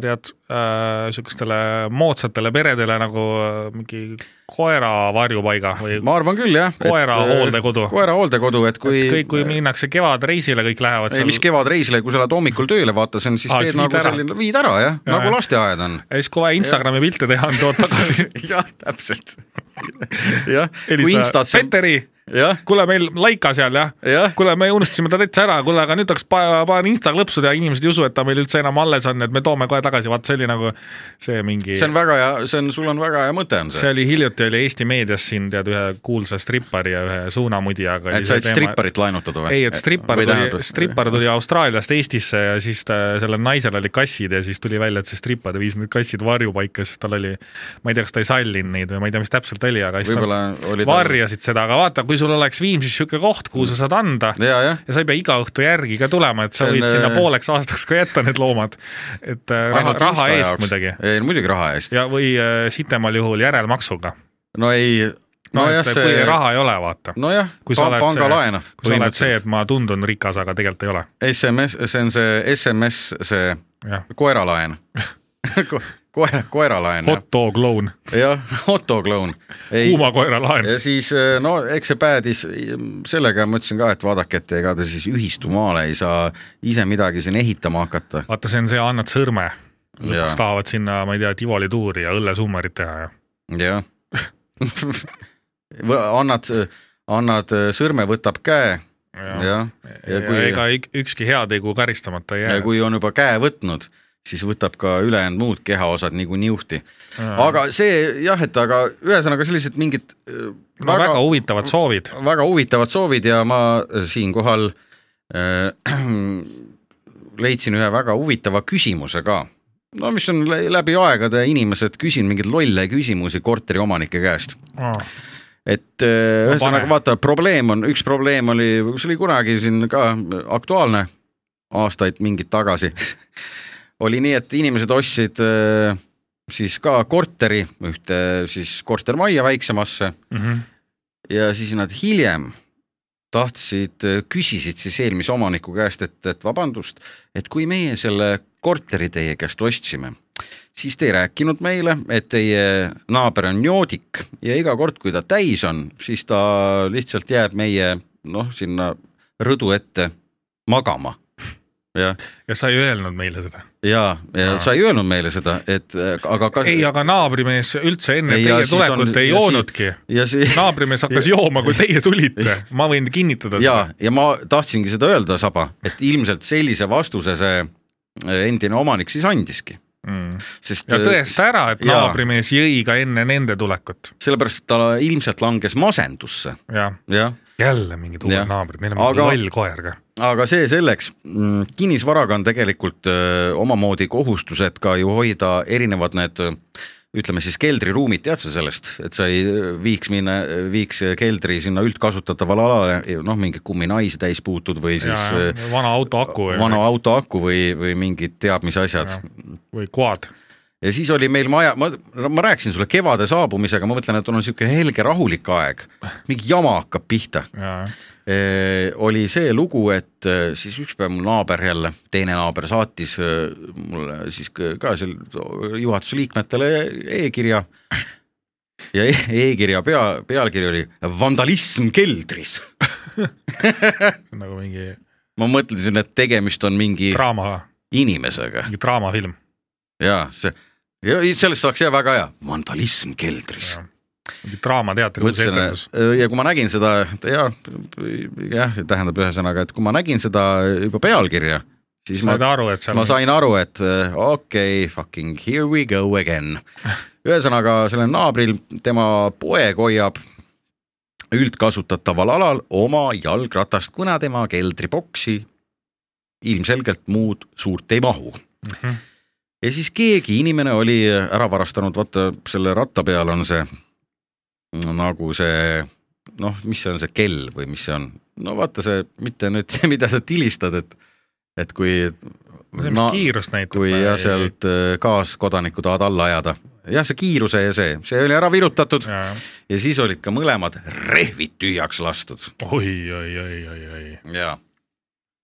D: tead äh, sihukestele moodsatele peredele nagu äh, mingi koera varjupaiga või
E: ma arvan küll jah .
D: Koera hooldekodu.
E: koera hooldekodu , et kui äh,
D: kui... . kõik , kui minnakse kevadreisile , kõik lähevad
E: ei ,
D: seal .
E: mis kevadreisile , kui sa lähed hommikul tööle , vaata , see on siis
D: Aa,
E: teed
D: siis
E: nagu
D: viid ära.
E: selline , viid ära jah ja, ,
D: Jaa,
E: nagu
D: jah.
E: lasteaed on .
D: ja siis kohe Instagrami pilte teha , on tood tagasi .
E: jah , täpselt . jah , kui
D: helista
E: Instasse ,
D: Peteri ,
E: jah ,
D: kuule meil Laika seal jah
E: jah ,
D: kuule , me unustasime ta täitsa ära , kuule , aga nüüd tahaks pa- panen Insta klõpsuda ja inimesed ei usu , et ta meil üldse enam alles on , et me toome kohe tagasi , vaat see oli nagu see mingi
E: see on väga hea , see on , sul on väga hea mõte on see
D: see . oli hiljuti oli Eesti meedias siin tead ühe kuulsa strippari ja ühe suunamudijaga .
E: et sa oled stripparit laenutada või ?
D: ei , et strippar tuli , strippar tuli Austraaliast Eestisse ja siis ta , sellel naisel oli kassid ja siis tuli välja , et see strippar viis need kassid varjupaika , sest tal oli , ma ei tea , kas ta ei sallinud neid või ma ei tea , mis täpselt oli , aga siis
E: võib-olla
D: nad
E: oli
D: varjasid seda , aga vaata , kui sul oleks Viimsis niisugune koht , kuhu sa saad anda ,
E: ja , jah ,
D: ja sa ei pea iga õhtu järgi ka tulema , et sa
E: See on,
D: võid sinna
E: äh,
D: pooleks aastaks ka jätta need loomad . et äh, raha , raha eest muidugi .
E: ei , muidugi raha eest .
D: ja , või äh, sitemal juhul järelmaksuga .
E: no ei ,
D: no
E: nojah ,
D: et see... kui
E: see ,
D: raha ei ole , vaata .
E: nojah ,
D: kui sa oled see-
E: pangalaen .
D: kui sa oled see , et ma tundun rikas , aga tegelikult ei ole .
E: SMS , see on see SMS , see
D: jah ,
E: koeralaen Ko, . koera , koeralaen ,
D: hot dog loan ,
E: jah , autokloun .
D: kuuma koera laen .
E: ja siis äh, no eks see päädis mm, sellega , ma ütlesin ka , et vaadake , et ega te siis ühistumaale ei saa ise midagi siin ehitama hakata .
D: vaata , see on see , annad sõrme . lõpuks
E: Jaa.
D: tahavad sinna , ma ei tea , Tivoli tuuri ja õllesummerit teha ja .
E: jah . annad , annad sõrme , äh, võtab käe
D: ja,
E: jah .
D: ja
E: ja kui ,
D: ega ük- ükski heategu karistamata ei jää
E: ja . kui on juba käe võtnud , siis võtab ka ülejäänud muud kehaosad niikuinii juhti . aga see jah , et aga ühesõnaga sellised mingid äh,
D: väga, väga huvitavad soovid .
E: väga huvitavad soovid ja ma siinkohal äh, leidsin ühe väga huvitava küsimuse ka . no mis on lä- läbi aegade inimesed küsinud mingeid lolle küsimusi korteriomanike käest , et äh,
D: No
E: ühesõnaga
D: pane.
E: vaata , probleem on , üks probleem oli , see oli kunagi siin ka aktuaalne aastaid mingid tagasi , oli nii , et inimesed ostsid äh, siis ka korteri , ühte siis kortermajja väiksemasse
D: Mhm.
E: ja siis nad hiljem tahtsid , küsisid siis eelmise omaniku käest , et , et vabandust , et kui meie selle korteri teie käest ostsime , siis te ei rääkinud meile , et teie naaber on joodik ja iga kord , kui ta täis on , siis ta lihtsalt jääb meie noh , sinna rõdu ette magama . ja ,
D: ja sa ei öelnud meile seda .
E: ja , ja sa ei öelnud meile seda , et äh, aga kas...
D: ei , aga naabrimees üldse enne
E: Ei,
D: ei,
E: ja
D: teie
E: siis on-
D: tulekut ei
E: ja siis-
D: joonudki .
E: ja see
D: naabrimees hakkas jooma , kui teie tulite , ma võin kinnitada
E: ja , ja ma tahtsingi seda öelda , Saba , et ilmselt sellise vastuse see eh, endine omanik siis andiski ,
D: Mm.
E: sest eh,
D: ja tõesta ära , et
E: jaa.
D: naabrimees jõi ka enne nende tulekut .
E: sellepärast ta ilmselt langes masendusse ,
D: jah ,
E: jah .
D: jälle mingid uued
E: Jah.
D: naabrid , meil on mingi
E: Aga-
D: loll koer ka .
E: aga see selleks , kinnisvaraga on tegelikult öö, omamoodi kohustused ka ju hoida erinevad need öö, ütleme siis keldriruumid , tead sa sellest , et sa ei öö, viiks minna , viiks keldri sinna üldkasutatavale alale , noh , mingi kumminaisi täis puutud või siis eh, öö,
D: vana auto aku või-
E: vana auto aku või , või mingid teab mis asjad
D: Jah. või quad .
E: ja siis oli meil maja , ma , ma rääkisin sulle kevade saabumisega , ma mõtlen , et on niisugune helge rahulik aeg , mingi jama hakkab pihta . oli see lugu , et eh, siis üks päev mu naaber jälle , teine naaber saatis eh, mulle siis k- ka seal juhatuse liikmetele e-kirja ja e- e-kirja pea , pealkiri oli vandalism keldris .
D: nagu mingi
E: ma mõtlesin , et tegemist on mingi
D: draama ,
E: inimesega
D: mingi draamafilm .
E: ja see , ja sellest saaks jah väga hea , vandalism keldris
D: mingi draamateatri uus
E: mõtlesin äh,
D: etendus .,
E: ja kui ma nägin seda , jah , jah , tähendab ühesõnaga , et kui ma nägin seda juba pealkirja , siis ma
D: said , aru , et seal
E: ma sain aru , et äh, okei okay, , fucking here we go again . ühesõnaga sellel naabril , tema poeg hoiab üldkasutataval alal oma jalgratast , kuna tema keldriboksi ilmselgelt muud suurt ei mahu
D: Mhm.
E: ja siis keegi inimene oli äh, ära varastanud , vaata selle ratta peal on see nagu see noh , mis see on , see kell või mis see on , no vaata see , mitte nüüd see , mida sa tilistad , et , et kui
D: ma ei tea , mis kiirust näitab .
E: kui jah , sealt äh, kaaskodanikud tahavad alla ajada , jah , see kiiruse ja see , see oli ära virutatud ja, ja siis olid ka mõlemad rehvid tühjaks lastud
D: oi , oi , oi , oi , oi .
E: ja ,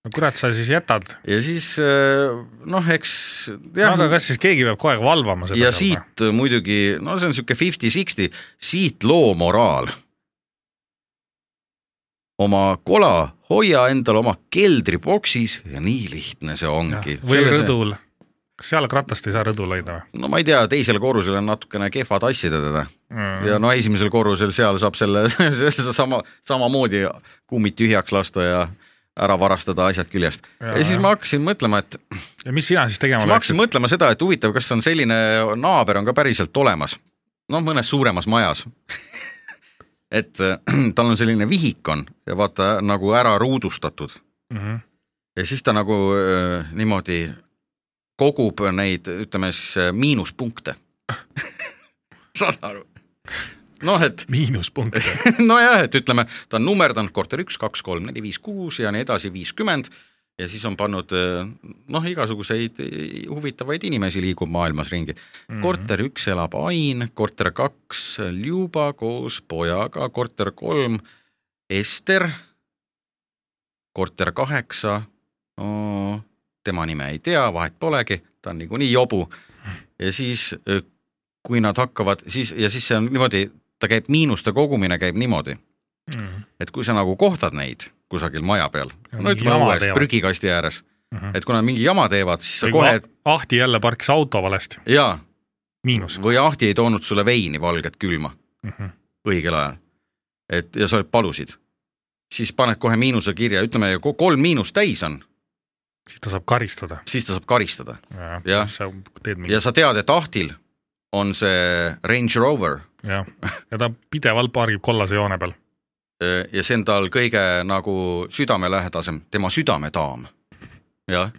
D: no kurat , sa siis jätad .
E: ja siis äh, noh , eks jah
D: aga , kas siis keegi peab kogu aeg valvama seda ?
E: ja siit muidugi , no see on niisugune fifty-sixty , siit loo moraal . oma kola hoia endal oma keldriboksis ja nii lihtne see ongi .
D: või rõdul . kas jalgratast ei saa rõdul hoida või ?
E: no ma ei tea , teisel korrusel on natukene kehvad asjad teda
D: Mm.
E: ja no esimesel korrusel seal saab selle sama , samamoodi kummid tühjaks lasta ja ära varastada asjad küljest .
D: Jaa,
E: ja siis
D: jah.
E: ma hakkasin mõtlema , et
D: ja mis sina siis tegema
E: ma hakkasin
D: läksid ?
E: mõtlema seda , et huvitav , kas on selline naaber on ka päriselt olemas . noh , mõnes suuremas majas . et äh, tal on selline vihik on ja vaata nagu ära ruudustatud
D: Mhm.
E: ja siis ta nagu äh, niimoodi kogub neid , ütleme siis äh, miinuspunkte . saad aru ? noh , et
D: miinuspunkt .
E: nojah , et ütleme , ta on nummerdanud korter üks , kaks , kolm , neli , viis , kuus ja nii edasi , viiskümmend ja siis on pannud eh, noh , igasuguseid eh, huvitavaid inimesi liigub maailmas ringi mm . -hmm. korter üks elab Ain , korter kaks Ljuba koos pojaga , korter kolm Ester , korter kaheksa no, , tema nime ei tea , vahet polegi , ta on niikuinii jobu ja siis eh, kui nad hakkavad siis ja siis see on niimoodi , ta käib miinuste kogumine käib niimoodi ,
D: Mhm.
E: et kui sa nagu kohtad neid kusagil maja peal ,
D: Ja
E: no
D: mingi
E: ütleme
D: jama
E: õues
D: teevad.
E: prügikasti ääres , et kui nad mingi jama teevad , siis sa
D: Mhm. või
E: kohe
D: kohe... ahti jälle parkis auto valesti ,
E: jaa ,
D: miinus . Mhm.
E: või ahti ei toonud Mm. sulle veini valget külma õigel ajal . et ja sa palusid siis paned kohe miinuse kirja , ütleme ko- kolm miinust täis on ,
D: siis ta saab karistada .
E: siis ta saab karistada Jah.
D: sa teed mingi
E: ja , sa tead , et ahtil on see Range Rover
D: jah , ja ta pidevalt pargib kollase joone peal .
E: öö, eh, ja see on tal kõige nagu südamelähedasem , tema südametaam . jah ,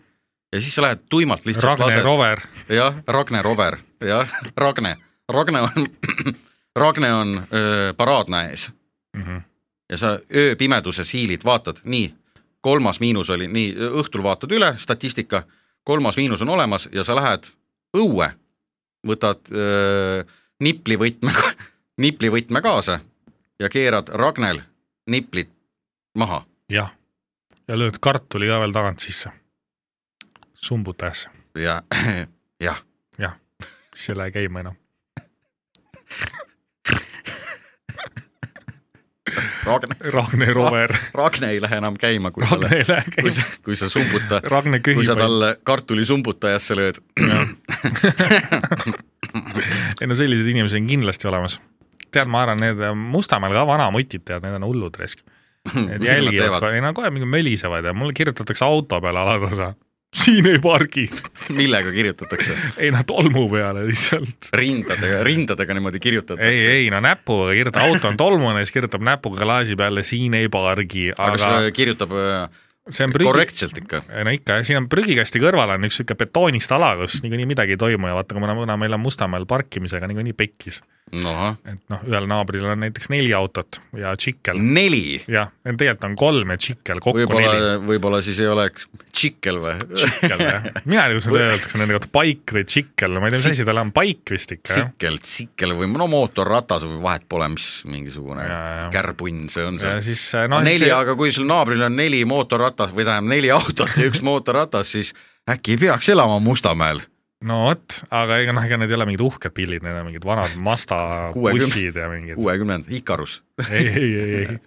E: ja siis sa lähed tuimalt lihtsalt
D: Ragne Rover ,
E: jah , Ragne Rover , jah , Ragne , Ragne on , Ragne on öö, paraadna ees
D: Mhm.
E: ja sa ööpimeduses hiilid , vaatad , nii , kolmas miinus oli , nii , õhtul vaatad üle , statistika , kolmas miinus on olemas ja sa lähed õue , võtad öö, niplivõtme , niplivõtme kaasa ja keerad Ragnel niplid maha .
D: jah . ja lööd kartuli ka veel tagant sisse . sumbutajasse ,
E: ja jah ,
D: siis ei lähe käima enam .
E: Ragne , Ah,
D: Ragne Rover ,
E: Ragne ei lähe enam käima , kui
D: Ragne
E: talle ,
D: ei lähe
E: kui
D: käima
E: sa , kui sa sumbuta ,
D: Ragne
E: kui sa
D: köhib ,
E: talle kartulisumbutajasse lööd .
D: ei no selliseid inimesi on kindlasti olemas . tead , ma arvan , need Mustamäel ka vanamutid tead , need on hullud risk . Need jälgivad , ei nad kohe mingi mölisevad ja mulle kirjutatakse auto peale alatasa . siin ei pargi ,
E: millega kirjutatakse ?
D: ei nad tolmu peale lihtsalt .
E: rindadega , rindadega niimoodi kirjutatakse .
D: ei , ei no näpuga kirjutab , auto on tolmune , siis kirjutab näpuga klaasi peale , siin ei pargi ,
E: aga kas
D: aga
E: ta kirjutab äh,
D: see on prügi ,
E: korrektselt ikka ?
D: no ikka , siin on prügikasti kõrval on üks sihuke betoonist ala , kus niikuinii midagi ei toimu ja vaata , kuna kuna meil on Mustamäel parkimisega niikuinii pekkis ,
E: noh ,
D: et noh , ühel naabril on näiteks neli autot ja tšikkel
E: neli ,
D: jah , tegelikult on kolm ja tšikkel kokku Võibolla... neli .
E: võib-olla , võib-olla siis ei oleks tšikkel või ?
D: tšikkel jah , mina ei tea , kuidas seda öeldakse nende kohta , paik või tšikkel , ma ei tea , mis asi tal on , paik vist ikka jah .
E: tsikkel , tsikkel või no mootorratas või vahet pole , mis mingisugune
D: Ja, ja, ja.
E: kärpunn see on
D: ja
E: seal .
D: siis
E: No,
D: noh ,
E: neli see... ,
D: see
E: aga kui sul naabril on neli mootorratas või tähendab neli autot ja üks mootorratas , siis äkki ei peaks elama Mustamäel .
D: no vot , aga ega noh , ega need ei ole mingid uhked pillid , need on mingid vanad Mazda
E: 60.
D: bussid ja mingid .
E: kuuekümnend , Ikarus .
D: ei , ei , ei , ei .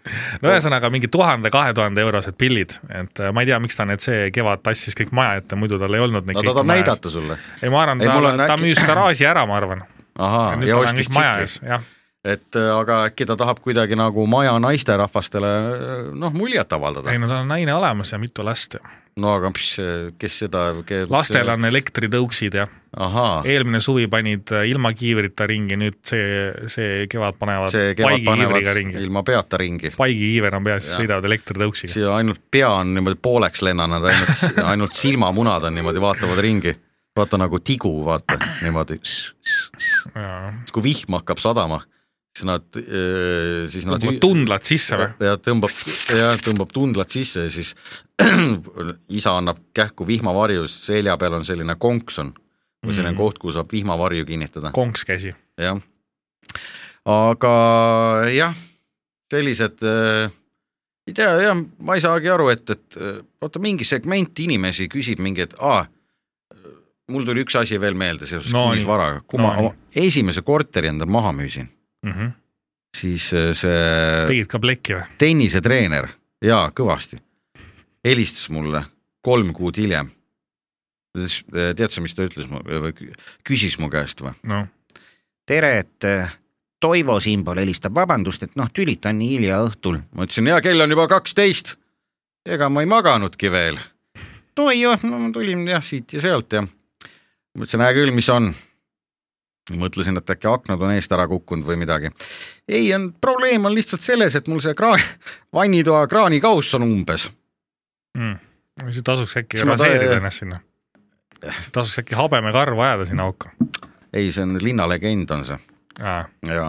D: no ühesõnaga mingi tuhande , kahe tuhande eurosed pillid , et äh, ma ei tea , miks ta need see kevad tassis kõik maja ette , muidu tal ei olnud neid
E: no ta tahab . näidata sulle .
D: ei , ma arvan ,
E: Ei,
D: ta,
E: mul on
D: ta äkki...
E: äkki-
D: müüs garaaži ära , ma arvan .
E: ahaa , Ah,
D: nüüd
E: ja
D: tal on
E: ostis
D: kõik maja
E: tsikli
D: ees , jah .
E: et äh, aga äkki ta tahab kuidagi nagu maja naisterahvastele äh, noh , muljet avaldada
D: ei . no tal on naine olemas ja mitu last .
E: no aga mis , kes seda ke,
D: lastel on e- elektritõuksid ja
E: ahaa ,
D: eelmine suvi panid äh, ilma kiivrita ringi , nüüd see , see kevad panevad
E: see kevad
D: paigikiivriga
E: panevad
D: ringi .
E: ilma peata ringi .
D: paigikiiver on peas , siis
E: Jah.
D: sõidavad elektritõuksiga .
E: siia ainult pea on niimoodi pooleks lennanud , ainult , ainult silmamunad on niimoodi , vaatavad ringi . vaata nagu tigu , vaata niimoodi . kui vihm hakkab sadama , siis nad , siis nad
D: tõmbavad tundlad sisse või ?
E: ja tõmbab , ja tõmbab tundlad sisse ja siis isa annab kähku vihmavarju , selja peal on selline konkson või
D: Mhm.
E: selline koht , kuhu saab vihmavarju kinnitada ,
D: konks käsi .
E: jah . aga jah , sellised äh, ei tea jah , ma ei saagi aru , et , et äh, vaata mingi segment inimesi küsib mingi , et aa , mul tuli üks asi veel meelde seoses
D: No
E: no,
D: nii.
E: kinnisvaraga , kui ma
D: No nii.
E: oma esimese korteri endal maha müüsin , siis äh, see
D: Mhm. tegid ka plekki või ?
E: tennisetreener ja kõvasti helistas mulle kolm kuud hiljem . tead sa , mis ta ütles mu või kü- küsis mu käest või ?
D: noh ,
C: tere , et äh, Toivo siinpool helistab , vabandust , et noh , tülitan nii hilja õhtul .
E: ma ütlesin , ja kell on juba kaksteist . ega ma ei maganudki veel . no ei jah , no ma tulin jah siit ja sealt ja mõtlesin , hea küll , mis on . mõtlesin , et äkki aknad on eest ära kukkunud või midagi . ei , on probleem on lihtsalt selles , et mul see kraan , vannitoa kraanikauss on umbes
D: Mm. siis tasuks äkki
E: Siis ma ta-
D: raseerida ennast sinna . tasuks äkki habemekarva ajada sinna auku .
E: ei , see on linnalegend on see ja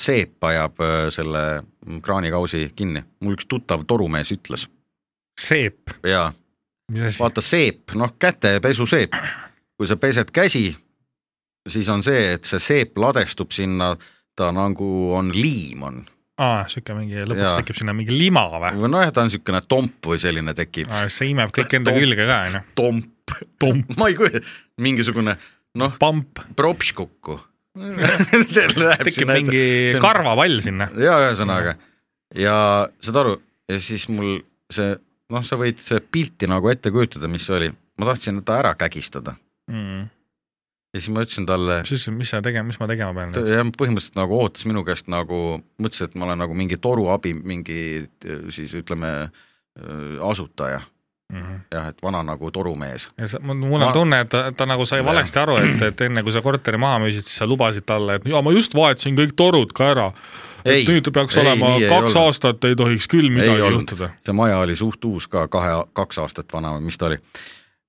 E: seep ajab öö, selle kraanikausi kinni , mul üks tuttav torumees ütles
D: seep ,
E: ja
D: mis asi ?
E: vaata seep , noh kätepesuseep , kui sa pesed käsi , siis on see , et see seep ladestub sinna , ta nagu on liim on
D: aa , sihuke mingi , lõpuks
E: Jaa.
D: tekib sinna mingi lima või ?
E: või nojah , ta on niisugune tomp või selline tekib ,
D: Ah, see imeb kõik enda
E: Tomp.
D: külge ka , onju .
E: tomp ,
D: tomp ,
E: ma ei kujuta , mingisugune noh ,
D: pamp ,
E: props kukku .
D: tekib mingi karvapall sinna .
E: ja ühesõnaga ja saad aru ja siis mul see noh , sa
D: Mm.
E: võid see pilti nagu ette kujutada , mis see oli , ma tahtsin ta ära kägistada , ja siis ma ütlesin talle ,
D: siis ütlesin , mis sa tegema , mis ma tegema pean nüüd .
E: jah , põhimõtteliselt nagu ootas minu käest nagu , mõtles , et ma olen nagu mingi toruabi , mingi siis ütleme öö, asutaja , jah , et vana nagu torumees .
D: Mhm. ja sa, mul mul
E: Ma-
D: on tunne , et ta, ta nagu sai
E: Jah.
D: valesti aru , et , et enne kui sa korteri maha müüsid , siis sa lubasid talle , et ja ma just vahetasin kõik torud ka ära .
E: Ei,
D: et nüüd peaks
E: ei,
D: ei, olema
E: nii ei
D: kaks
E: olnud.
D: ei aastat , ei tohiks küll midagi juhtuda .
E: see maja oli suht uus ka , kahe , kaks aastat vana või mis ta oli .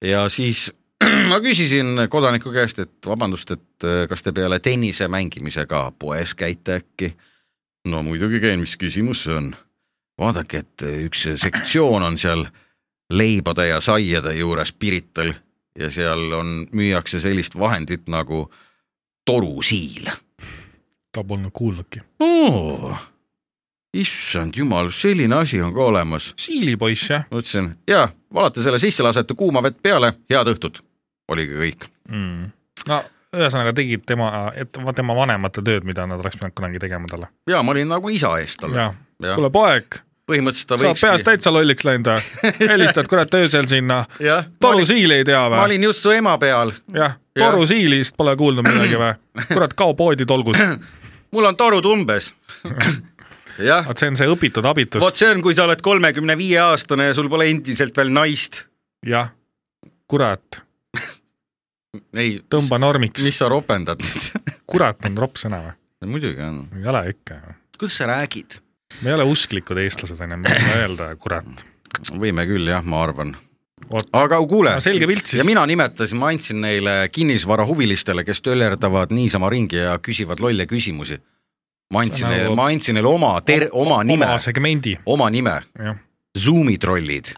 E: ja siis ma küsisin kodaniku käest , et vabandust , et öö, kas te peale tennise mängimisega poes käite äkki ? no muidugi käin , mis küsimus see on ? vaadake , et eh, üks sektsioon on seal leibade ja saiade juures Pirital ja seal on , müüakse sellist vahendit nagu torusiil
D: ta polnud kuulnudki .
E: oo , issand jumal , selline asi on ka olemas .
D: siilipoiss jah
E: ma ütlesin ja valate selle sisse , lasete kuuma vett peale , head õhtut . oligi kõik .
D: mm. . no ühesõnaga tegid tema , et va- tema vanemate tööd , mida nad oleks pidanud kunagi tegema talle .
E: ja ma olin nagu isa eest talle .
D: jah , kuule poeg ,
E: põhimõtteliselt ta
D: sa oled
E: võiks .
D: peast täitsa lolliks läinud , helistad kurat öösel sinna ,
E: jah ,
D: torusiili ei tea
E: ma
D: või ?
E: olin just su ema peal .
D: jah , torusiilist pole kuulnud midagi või ? kurat , kao poodi tolgus .
E: mul on torud umbes . jah ,
D: vaat see on see õpitud abitus ,
E: vot see on , kui sa oled kolmekümne viie aastane ja sul pole endiselt veel naist .
D: jah . kurat ,
E: ei ,
D: tõmba normiks .
E: mis sa ropendad nüüd ?
D: kurat on ropp sõna või ?
E: muidugi on .
D: ei ole ikka .
E: kuidas sa räägid ?
D: me ei ole usklikud eestlased onju , me võime öelda kurat .
E: võime küll jah , ma arvan .
D: vot ,
E: aga kuule
D: No selge pilt siis.
E: ja mina nimetasin , ma andsin neile kinnisvarahuvilistele , kes töllerdavad niisama ringi ja küsivad lolle küsimusi . ma andsin
D: Nagu-
E: neile , ma andsin neile oma ter- , oma nime
D: oma , segmendi ,
E: oma nime ,
D: jah .
E: Zoomi trollid .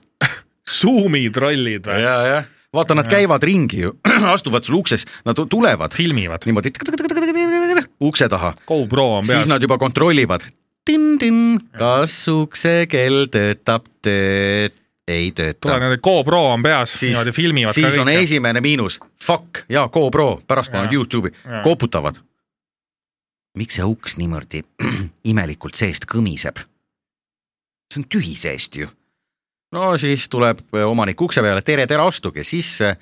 D: Zoomi trollid või ?
E: ja , jah . vaata , nad käivad ringi ju , astuvad sul ukses , nad tu- tulevad
D: filmivad .
E: niimoodi ukse taha ,
D: GoPro on peas
E: siis . nad juba kontrollivad . kas ukse kell töötab , töötab , ei tööta
D: tule nende GoPro on peas , niimoodi filmivad
E: siis
D: ka
E: on
D: kõike .
E: esimene miinus , fuck ja GoPro , pärast panen
D: Jaa.
E: Youtube'i
D: Jaa. ,
E: koputavad . miks see uks niimoodi imelikult seest kõmiseb ? see on tühi seest ju . no siis tuleb omanik ukse peale , tere , tere , astuge sisse .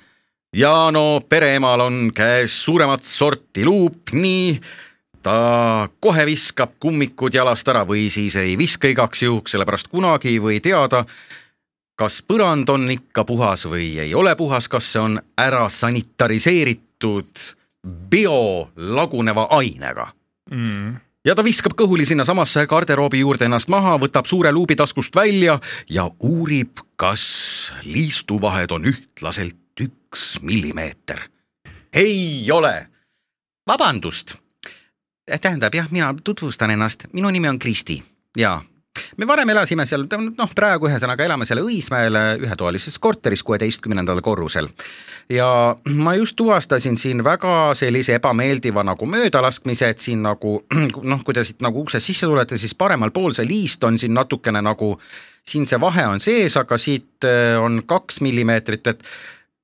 E: ja no pereemal on käes suuremat sorti luup , nii ta kohe viskab kummikud jalast ära või siis ei viska igaks juhuks , sellepärast kunagi ei või teada , kas põrand on ikka puhas või ei ole puhas , kas see on ära sanitariseeritud biolaguneva ainega
D: Mm.
E: ja ta viskab kõhuli sinnasamasse garderoobi juurde ennast maha , võtab suure luubi taskust välja ja uurib , kas liistuvahed on ühtlaselt üks millimeeter . ei ole . vabandust . tähendab jah , mina tutvustan ennast , minu nimi on Kristi ja me varem elasime seal , noh , praegu ühesõnaga elame seal Õismäel ühetoalises korteris kuueteistkümnendal korrusel . ja ma just tuvastasin siin väga sellise ebameeldiva nagu möödalaskmise , et siin nagu noh , kui te siit nagu uksest sisse tulete , siis paremal pool see liist on siin natukene nagu , siin see vahe on sees , aga siit eh, on kaks millimeetrit , et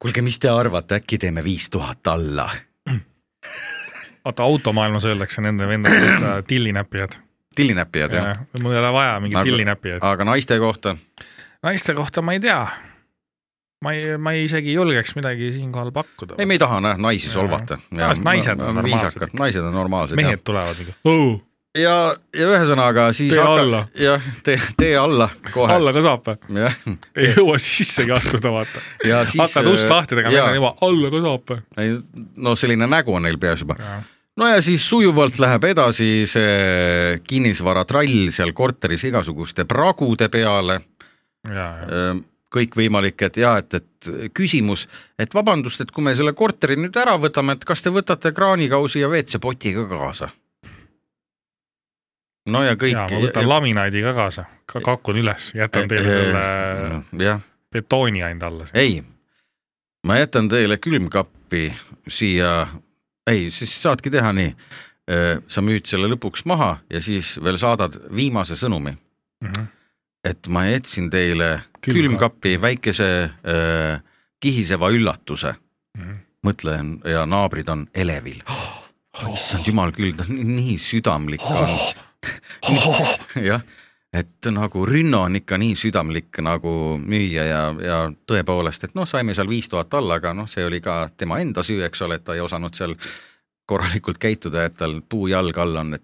E: kuulge , mis te arvate , äkki teeme viis tuhat alla
D: vaata automaailmas öeldakse nende vendade kohta tillinäppijad .
E: tillinäppijad jah ja. ,
D: mul ei ole vaja mingit
E: Nagu-
D: nagu... tillinäppijaid .
E: aga naiste kohta
D: naiste kohta ma ei tea . ma ei , ma ei isegi julgeks midagi siinkohal pakkuda
E: ei ,. me ei taha jah naisi
D: Jaa.
E: solvata .
D: Tavaliselt naised on normaalsed ikka.
E: naised on normaalsed jah.
D: mehed tulevad nagu oh, ,
E: ja , ja ühesõnaga siis
D: Tee
E: hakka-
D: alla.
E: jah , tee , tee alla kohe .
D: alla ka saab või ?
E: jah ,
D: ei jõua sissegi astuda , vaata .
E: ja siis . äh,
D: hakkad ust lahti tegema , neil on juba alla ka saab või ?
E: juba . no selline nägu on neil peas juba . no ja siis sujuvalt läheb edasi see kinnisvaratrall seal korteris igasuguste pragude peale ,
D: ja , ja ,
E: kõikvõimalik , et ja et , et küsimus , et vabandust , et kui me selle korteri nüüd ära võtame , et kas te võtate kraanikausi ja WC-poti ka kaasa ? no ja kõik .
D: ja ma võtan laminaadi ka kaasa , kakun üles , jätan teile selle .
E: jah ,
D: betooni ainult alla .
E: ei , ma jätan teile külmkappi siia , ei , siis saadki teha nii . sa müüd selle lõpuks maha ja siis veel saadad viimase sõnumi ,
D: Mhm.
E: et ma jätsin teile külmkappi, külmkappi väikese öö, kihiseva üllatuse . mõtlen ja naabrid on elevil oh, . issand jumal küll , ta on nii südamlik olnud . jah , et nagu Rünno on ikka nii südamlik nagu müüja ja , ja tõepoolest , et noh , saime seal viis tuhat alla , aga noh , see oli ka tema enda süü , eks ole , et ta ei osanud seal korralikult käituda , et tal puujalg all on , et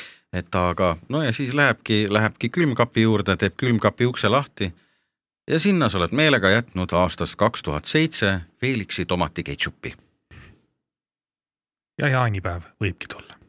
E: et aga no ja siis lähebki , lähebki külmkapi juurde , teeb külmkapi ukse lahti ja sinna sa oled meelega jätnud aastast kaks tuhat seitse Felixi tomatiketšupi .
D: ja jaanipäev võibki tulla .